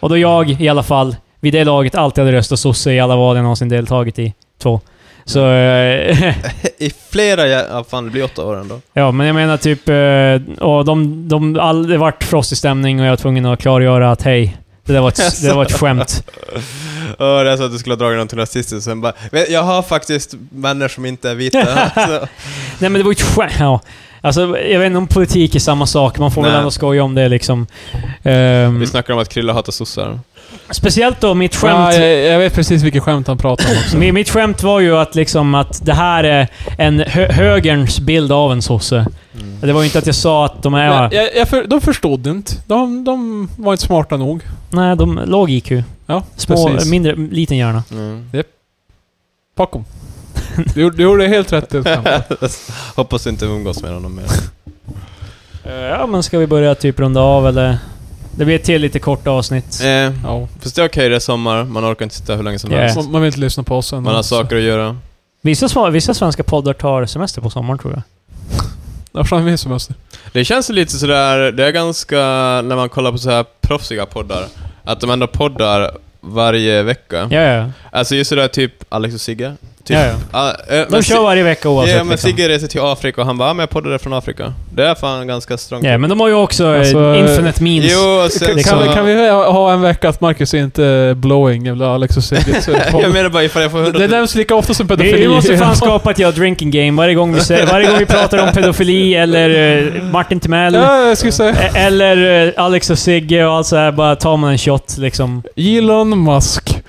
C: Och då jag i alla fall, vid det laget, alltid hade röstat sosse i alla val jag någonsin deltagit i. Två. Så... eh, *laughs*
B: I flera, jä- ja fan det blir åtta år ändå.
C: Ja, men jag menar typ... eh, Och de, de, all, det vart frostig stämning och jag var tvungen att klargöra att hej, det där var
D: *laughs*
C: ett, det där var ett skämt.
B: Oh, det är så att du skulle ha dragit någonting rasistiskt sen bara, "Vet, jag har faktiskt vänner som inte är *laughs* vita. så.
C: Nej, men det var ju ett skämt. Ja. Alltså, jag vet inte om politik är samma sak. Man får väl
B: Nej.
C: ändå skoja om det liksom. Ehm,
B: Vi snackar om att Krilla hatar sossar.
C: speciellt då mitt
D: Ja,
C: skämt.
D: jag, jag vet precis vilket skämt han pratar om också.
C: mi- Mitt skämt var ju att, liksom, att det här är en hö högerns bild av en sosse.
B: Mm.
C: Det var ju inte att jag sa att de är...
D: Men jag, jag för, de förstod inte. De, de var inte smarta nog.
C: Nej, de låg IQ.
D: Ja,
C: Små,
D: precis.
C: mindre, liten hjärna.
B: Mm.
D: Packom. Du, gjorde- du gjorde helt rätt ut.
B: *laughs* Hoppas inte umgås med honom mer.
C: Eh, Ja, men ska vi börja typ runda av eller? Det blir ett till lite kort avsnitt.
B: *laughs* Eh,
D: Ja.
B: fast det är okej, det är sommar, man orkar inte sitta hur länge som
C: Yeah.
B: helst.
D: Man, man vill inte lyssna på oss än.
B: Man har saker att göra.
C: Vissa, sva- vissa svenska poddar tar semester på sommaren tror jag.
D: Varför har vi med semester?
B: Det känns lite sådär, det är ganska, när man kollar på så här proffsiga poddar, att de ändå poddar varje vecka.
C: Ja, ja.
B: Alltså just sådär typ Alex och Sigge. Typ.
C: Ja, ja.
B: Ja, eh, men
C: De kör
B: Si-
C: varje vecka
B: Ja,
C: oavsett.
B: men
C: liksom.
B: Sigge reser till Afrika och han bara, "Ah, men jag poddade från Afrika. Det är fan ganska strångt.
C: Ja, men de har ju också eh,
D: Alltså,
C: infinite memes.
B: Jo, och sen
D: Kan,
B: så...
C: Liksom.
D: kan, kan vi ha ha en vecka att Marcus är inte är blowing jävla Alex och Sigge? Så-
B: *laughs* jag menar bara ifall jag får
D: Det
B: hundra...
D: nämns lika ofta som
C: Vi,
D: pedofili.
C: vi måste
D: *laughs*
C: fan skapa ett jag drinking game varje gång vi, säger, varje gång vi pratar om pedofili eller eh, Martin Timell.
D: Ja, jag skulle säga.
C: eh, Eller eh, Alex och Sigge och allt så här bara tar man en shot liksom. *laughs*
D: Elon Musk.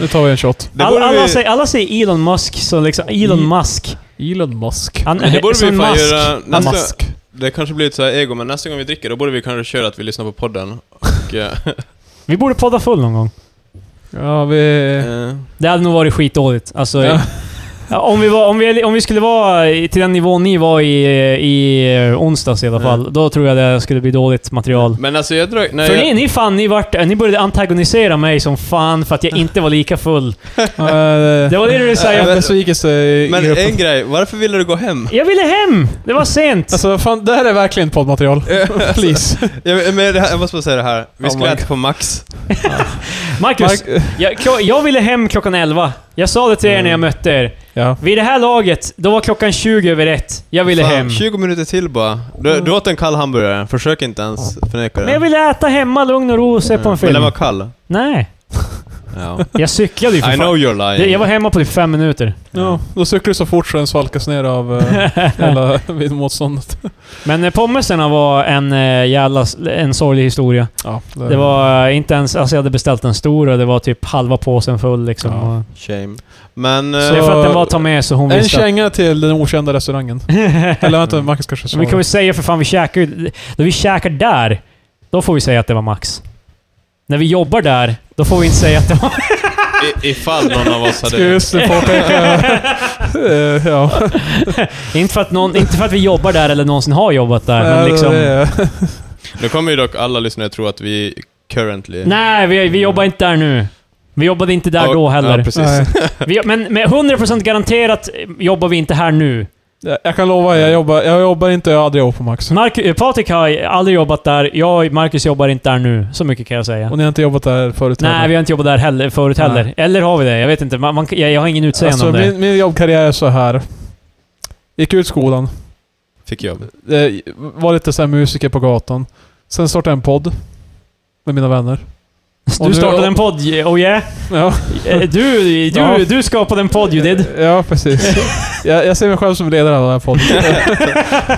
D: Nu tar vi en shot.
B: Det
C: All,
B: borde
C: alla,
B: vi-
C: säger, alla säger Elon Musk, så liksom Elon
D: I-
C: Musk.
D: Elon Musk.
C: Han,
B: Men det borde
C: som
B: vi fan
C: Musk.
B: göra
C: Han,
B: nästa-
C: Musk.
B: Det kanske blir lite såhär ego, men nästa gång vi dricker då borde vi kanske köra att vi lyssnar på podden. Och, eh,
C: *laughs* Vi borde podda full någon gång.
D: Ja, vi...
B: eh,
C: Det hade nog varit skitdåligt. Alltså,
D: Ja.
C: ja, om, vi var, om, vi, om vi skulle vara i- till den nivån ni var i, i eh, onsdags i alla
B: Ja.
C: fall, då tror jag det skulle bli dåligt material.
B: men alltså jag drar... Nej,
C: För
B: jag-
C: ni, ni fan, ni, vart, ni började antagonisera mig som fan för att jag inte var lika full.
D: eh,
C: Det var det du sa, jag-
D: jag... Besvikelse i
B: men
D: gruppen.
B: en grej, varför ville du
C: *laughs*
B: gå hem?
C: Jag ville hem! Det var sent!
D: Alltså fan, det här är verkligen poddmaterial. Please.
B: Jag, men det här, jag måste bara säga det här, vi
D: Oh
B: skulle
D: my
B: äta på Max.
C: Marcus,
D: Mark-
C: jag, klo- jag ville hem klockan 11. Jag sa det till
B: Mm.
C: er när jag mötte er.
D: Ja.
C: Vid det här laget, då var klockan 20 över ett. Jag ville
B: Fan,
C: hem.
B: 20 minuter till bara. Du, du åt en kall hamburgare, försök inte ens förneka det.
C: Men jag ville äta hemma, lugn och ro och se på en
B: Mm. Men
C: film.
B: den var kall.
C: Nej, *laughs*
B: Ja.
C: jag cyklade ju för
B: I
C: fan.
B: know you're
C: Det-
B: lying.
C: Jag var hemma på typ fem minuter.
D: Ja, då cyklar du så fort så den svalkas ner av eh,
C: *laughs*
D: hela vid motståndet.
C: Men eh, pommesarna var en eh, jävla... s- En sorglig historia.
D: Ja,
C: Det var eh, inte ens... Alltså jag hade beställt en stor och det var typ halva påsen full liksom.
D: Ja.
C: Och-
B: Shame. Men...
C: Så det är
B: eh,
C: för att den var att ta med så hon
D: En
C: visste.
D: känga till den
C: *laughs*
D: okända restaurangen. Eller vänta, Marcus kanske
C: Men vi kan
D: svarar.
C: väl säga för fan, vi käkar ju... Då vi käkar där, då får vi säga att det var Max. När vi jobbar där, då får vi inte säga att det var...
B: i, ifall någon av oss
D: Ska
B: hade...
C: *laughs*
D: just påpeka... eh, ja.
C: inte, för att någon, inte för att vi jobbar där eller någonsin har jobbat där, men liksom...
D: Eh,
B: Nu kommer ju dock alla lyssnare tro att vi currently...
C: Nej, vi, vi jobbar inte där nu. Vi jobbade inte där
B: Och-
C: då
B: Ja,
C: heller.
B: precis.
D: nej.
C: Vi, men med 100% garanterat jobbar vi inte här nu.
D: Ja, Jag kan lova, jag jobbar, jag jobbar inte, jag har aldrig jobbat på Max.
C: Mark, eh, Patrik har aldrig jobbat där. Jag och Marcus jobbar inte där nu. Så mycket kan jag säga.
D: Och ni har inte jobbat där förut
C: Nej, vi har inte jobbat där heller, förut heller.
D: Nej.
C: Eller har vi det? Jag vet inte. Man, man, jag, jag har ingen utseende
D: alltså,
C: om det.
D: min, min jobbkarriär är så här. Gick ut skolan,
B: Fick jobb.
D: eh, var lite så här musiker på gatan. Sen startade jag en podd. Med mina vänner. och
C: Du
D: nu-
C: startade en podd, oh yeah.
D: Ja,
C: Eh, Du, du,
D: Ja.
C: du skapade en podd, you
D: *laughs*
C: did.
D: ja precis. jag, jag ser mig själv som ledare av den här podden.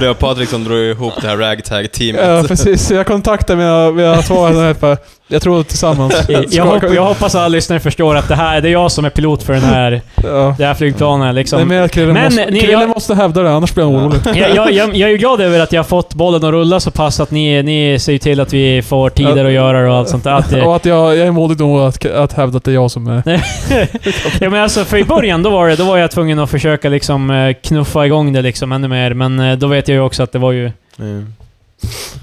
B: Det var Patrik som drog ihop det här
D: Ja,
B: ragtag-teamet.
D: precis. Jag kontaktade mina, mina två vänner och bara, jag tror tillsammans.
C: Jag, hopp, jag hoppas alla lyssnare förstår att det här det är jag som är pilot för den här,
D: Ja.
C: det här flygplanet.
D: Det är
C: Liksom.
D: mer att Krille
C: Men
D: måste,
C: ni-
D: Krille
C: jag-
D: måste hävda det, annars blir han orolig.
C: Jag, jag, jag, jag är ju glad över att jag har fått bollen att rulla så pass att ni, ni ser ju till att vi får tider att göra och allt sånt där. Att eh, det,
D: Och att jag, jag är modig nog att, att hävda att det är jag som är...
C: *laughs* ja, men alltså, för i början då var, det, då var jag tvungen att försöka liksom, eh, knuffa igång det liksom ännu mer. Men eh, då vet jag ju också att det var ju...
B: Mm.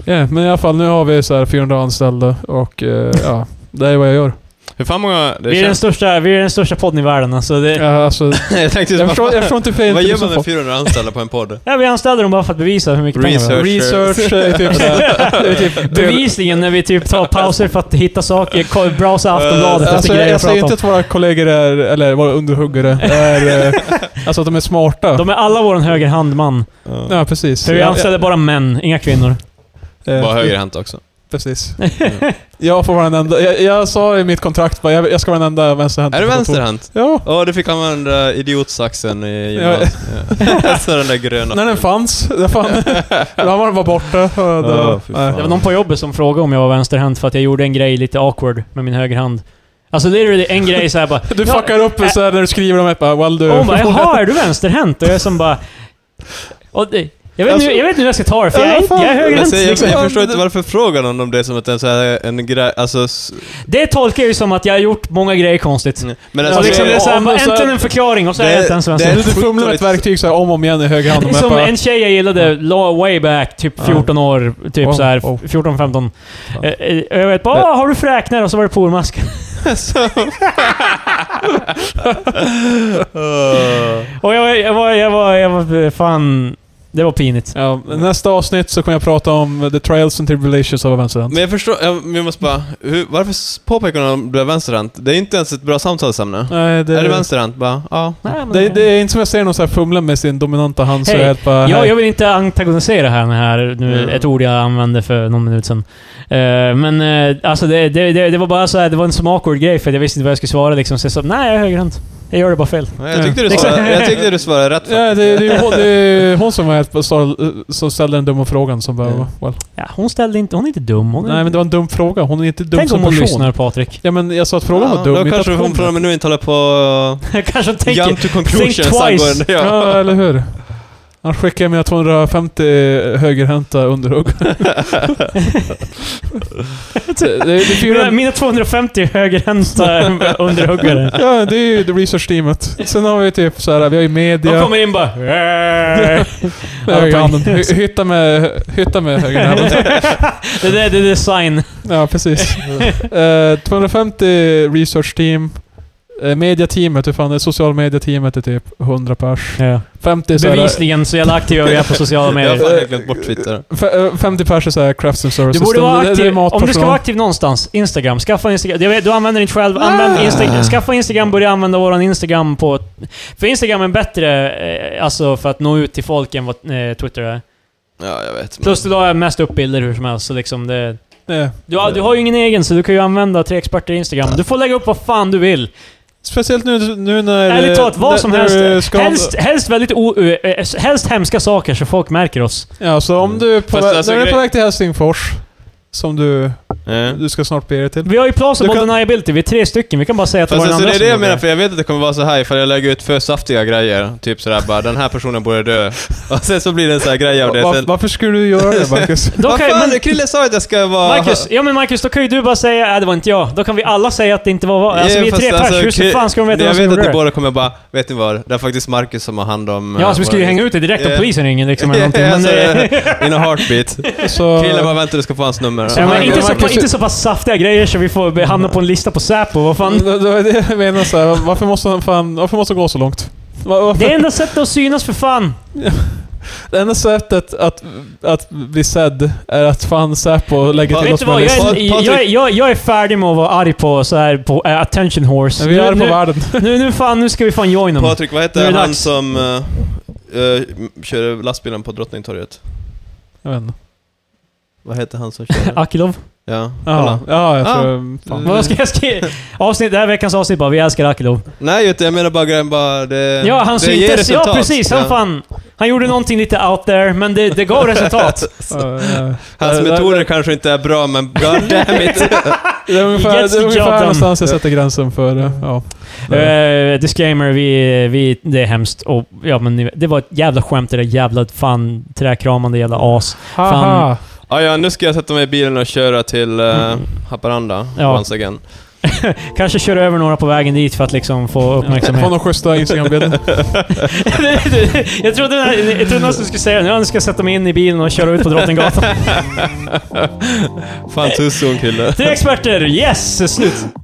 D: Ja, men i alla fall, nu har vi så här 400 anställda och eh, ja, det är vad jag gör.
B: Hur fan många... Det
C: Vi är, den
B: känns, *laughs*
C: största, vi är den största podden i världen. Alltså det,
D: Ja, alltså,
B: jag tänkte
D: jag, förstår, jag förstår inte fel.
B: Vad gör man med 400 anställda på en podd?
C: ja, vi anställde dem bara för att bevisa hur mycket pengar vi har.
D: Research är typ
C: *laughs*
D: så här, det är typ
C: Bevisligen när vi typ tar pauser för att hitta saker, ko- browsa Aftonbladet efter
D: Alltså, jag,
C: grejer
D: jag
C: att
D: säger
C: prata
D: inte
C: om.
D: att våra kollegor är, eller våra underhuggare,
C: *laughs*
D: är, eh, alltså att de är smarta.
C: De är alla vår högerhand man.
D: Ja, precis.
C: För vi
D: Ja,
C: anställer bara män, inga kvinnor.
D: ja, eh,
B: Bara högerhänt
D: *laughs*
B: också.
D: Precis. Jag får vara den enda. Jag, jag sa i mitt kontrakt bara, jag, jag ska vara den enda vänsterhänta.
B: Är du
D: på kontoret.
B: vänsterhänt?
D: Ja.
B: Ja, du fick använda idiotsaxen i
D: *laughs*
B: gymnasiet. Ja. Alltså den där gröna.
D: När den fanns.
B: *laughs*
D: Den fan. Ramarna var borta. och det-
B: Ja, fy fan.
C: Det
D: nej.
C: var någon på jobbet som frågade om jag var vänsterhänt för att jag gjorde en grej lite awkward med min högerhand. Alltså literally en grej såhär bara...
D: Du fuckar upp så här när du skriver om ett bara, well du...
C: Och hon bara ”Jaha, är du vänsterhänt?” och jag som bara... Och det, jag,
D: Alltså-
C: vet inte, jag vet inte hur jag ska ta det, för jag är, inte- jag är
B: Men
C: högerhänt.
B: säg, jag,
C: Liksom.
B: jag förstår inte varför frågar någon om det som att det är så här en grej, alltså... s-
C: Det tolkar jag ju som att jag har gjort många grejer konstigt.
B: Men
C: Så
B: alltså...
C: liksom det är såhär,
D: om-
C: bara,
D: så-
C: äntligen en förklaring och så är jag inte ens
B: det-
C: vänsterhänt.
D: *laughs* du fumlar med ett verktyg så här, om och om igen i höger hand. och
C: Som
D: bara-
C: en tjej jag gillade la- way back, typ
D: Ja.
C: 14 år, typ
D: Oh,
C: så här,
D: oh.
C: 14-15.
D: Fan.
C: Eh, eh, Jag vet bara "Ah, “Har du fräknar?” och så var det pormask.
B: Åh.
C: *laughs* Och jag, jag, var, jag, var, jag var fan... Det var pinigt.
D: Ja, nästa avsnitt så kommer jag prata om the trials and tribulations av vänsterhand.
B: Men jag förstår, jag, vi måste bara, hur, varför påpekar hon att hon blev vänsterhänt? Det är inte ens ett bra samtalsämne.
D: Nej, det,
B: Är det vänsterhänt? Bara, ja.
C: Nej, men
D: Det, det är inte som jag ser någon så här fumla med sin dominanta hand så
C: Hej.
D: jag är helt bara...
C: Ja,
D: hej.
C: jag vill inte antagonisera här med här, nu,
B: Mm.
C: ett ord jag använde för någon minut sedan. Eh, men eh, alltså det, det, det, det var bara så här, det var en sån awkward grej för jag visste inte vad jag skulle svara liksom. Så jag sa nej, jag är högerhänt. Jag gör det bara fel.
B: Nej, Jag tyckte du svarade, jag tyckte du svarade rätt
D: Ja,
B: faktiskt.
D: det, det är ju hon,
B: *laughs*
D: det är hon som, var helt, som- som ställde den dumma frågan som bara...
B: Ja.
D: Well.
C: Ja, hon ställde inte... Hon är inte dum. Hon är,
D: Nej men det var en dum fråga, hon är inte dum
C: Tänk
D: som
C: om hon
D: person.
C: lyssnar,
D: *laughs*
C: Patrik.
D: Ja men jag sa att frågan var dum,
B: Då
D: inte
B: kanske
D: att
B: hon från och med nu inte håller på
C: Kanske hon
B: uh,
C: tänker...
B: jump to conclusions
C: twice.
B: angående...
D: Ja, eller hur? Annars skickar jag mina 250
B: *laughs*
D: högerhänta underhugg. det, det, det, är
C: Mina,
D: fyra,
C: mina 250 högerhänta *laughs* underhuggare.
D: *laughs* ja, det är ju the research-teamet. Sen har vi typ så här, vi har ju
C: De
D: media,
C: kommer in bara... "Äh."
D: *laughs* högerhanden. Hy- Hytta med, hytta med högerhanden.
C: *laughs* det där det är design. *laughs*
D: Ja, precis. Eh, 250 research team. Eh, Mediateamet, hur fan är det? Social media-teamet är typ 100 pers. 50 så är det-
C: Bevisligen så jävla aktiv jag är på sociala
B: Jag har
C: medier.
B: fan helt glömt bort Twitter.
D: F- eh, 50 pers är såhär crafts and
C: Du
D: services.
C: borde
D: Det-
C: vara
D: det- det är
C: aktiv. Om du ska
D: matpersonal.
C: vara aktiv någonstans, Instagram. Skaffa Instagram. Jag vet, du använder inte själv. Använd
B: Ah.
C: Insta- skaffa Instagram, börja använda våran Instagram på... För Instagram är bättre eh, alltså för att nå ut till folk än vad eh, Twitter är.
B: Ja, jag vet. men-
C: Plus idag är mest upp bilder hur som helst, så liksom det...
D: Nej.
C: Du, har- du har ju ingen egen, så du kan ju använda tre experter i Instagram. Du får lägga upp vad fan du vill.
D: Speciellt nu, nu när...
C: Ärligt talat, vad
D: när-
C: som
D: när
C: helst.
D: du ska-
C: Helst, helst väldigt o, ö- ö- helst hemska saker så folk märker oss.
D: Ja, så om du är på,
B: Fast
D: vä-
B: alltså
D: när du är på
B: grej-
D: väg till Helsingfors, som du,
B: Eh.
D: du ska snart bege dig till.
C: Vi har ju Plausible
D: Du kan-
C: deniability, vi är tre stycken. Vi kan bara säga att det
B: Fast
C: var den
B: alltså,
C: andra
B: det är
C: som
B: det jag
C: gjorde
B: menar, för jag vet att det kommer vara så här ifall jag lägger ut för saftiga grejer. Typ sådär bara, den här personen borde dö. *laughs* Och sen så blir det en sån här grej av det.
D: Va-
B: Sen,
D: varför skulle du göra
B: *laughs*
D: det, Marcus?
C: Då
B: vad
C: kan-
B: fan,
C: men-
B: Krille sa att jag ska vara...
C: Marcus, ja men Marcus, då kan ju du bara säga att det var inte jag. Då kan vi alla säga att det inte var... Alltså
B: Ja,
C: vi är
B: fast
C: tre pers, hur så
B: Kri-
C: fan ska de veta
B: Jag
C: vem som
B: vet
C: gjorde
B: att
C: det?
B: ni båda kommer bara, vet ni vad? Det är faktiskt Marcus som har hand om... eh,
C: Ja, så vi skulle ju hänga ut det direkt om
B: Ja.
C: polisen ringer liksom eller
B: Ja,
C: någonting. Men,
B: *laughs* alltså,
C: eh,
B: In a heartbeat.
D: Så,
B: Krille bara, vänta du ska få hans nummer.
C: ja, men
D: Marcus-
C: inte, så,
D: Marcus-
C: inte så pass saftiga grejer så vi får hamna på en lista på Säpo, vad fan.
D: *laughs* det, det var det jag menar, så här, varför måste han fan, varför måste han gå så långt? Va- varför?
C: Det är enda sättet att synas för fan!
D: Det enda sättet att, att bli sedd är att fan Säpo lägger till
C: Vet
D: oss
C: du vad, jag
D: listor.
C: är,
B: Patrik-
C: jag, är- jag, jag är färdig med att vara arg på, så här, på eh, attention horse.
D: Men Vi
C: Nu-
D: är på
C: nu,
D: världen.
C: *laughs* nu, nu fan, nu ska vi fan joina dem.
B: Patrik, vad
C: Nu är
B: heter
C: det
B: han
C: dags.
B: som eh, eh, kör lastbilen på Drottningtorget?
D: Jag vet inte.
B: Vad heter han
C: *laughs*
B: som kör?
C: Akilov?
B: Ja,
D: Ja,
B: kolla.
D: ja, jag
B: Ah.
D: tror... Fan.
C: Vad ska jag
B: *laughs*
C: skriva? Avsnitt, det här veckans avsnitt bara, vi älskar Akilov.
B: Nej, just det, jag menar bara grejen bara, det,
C: Ja, han
B: det ger
C: syntes.
B: resultat.
C: Ja, precis. Han fan... Han gjorde någonting lite out there, men det, det gav
B: *laughs*
C: resultat.
D: Ja, ja.
B: Hans
D: Ja, det-
B: metoder kanske inte är bra, men
C: *laughs*
B: god damn it.
D: Det är
C: He
D: ungefär,
C: gets
D: det
C: the job
D: är ungefär
C: done.
D: någonstans jag sätter gränsen för... eh, Ja.
C: *laughs* Eh, disclaimer, vi, vi, det är hemskt. Och, ja, men, ni vet, det var ett jävla skämt, det där jävla fan träkramande jävla as.
D: Haha.
B: ah, ja, nu ska jag sätta mig i bilen och köra till eh,
C: Mm.
B: Haparanda,
C: Ja.
B: once again.
C: Kanske kör över några på vägen dit för att liksom få
D: Få
B: *laughs*
C: uppmärksamhet.
D: någon schyssta Instagram-bild.
C: jag, trodde, jag trodde nästan du skulle säga nu ska jag sätta mig in i bilen och köra ut på
B: *laughs*
C: Drottninggatan.
B: Fan, too soon, kille.
C: Tre experter, yes! Slut!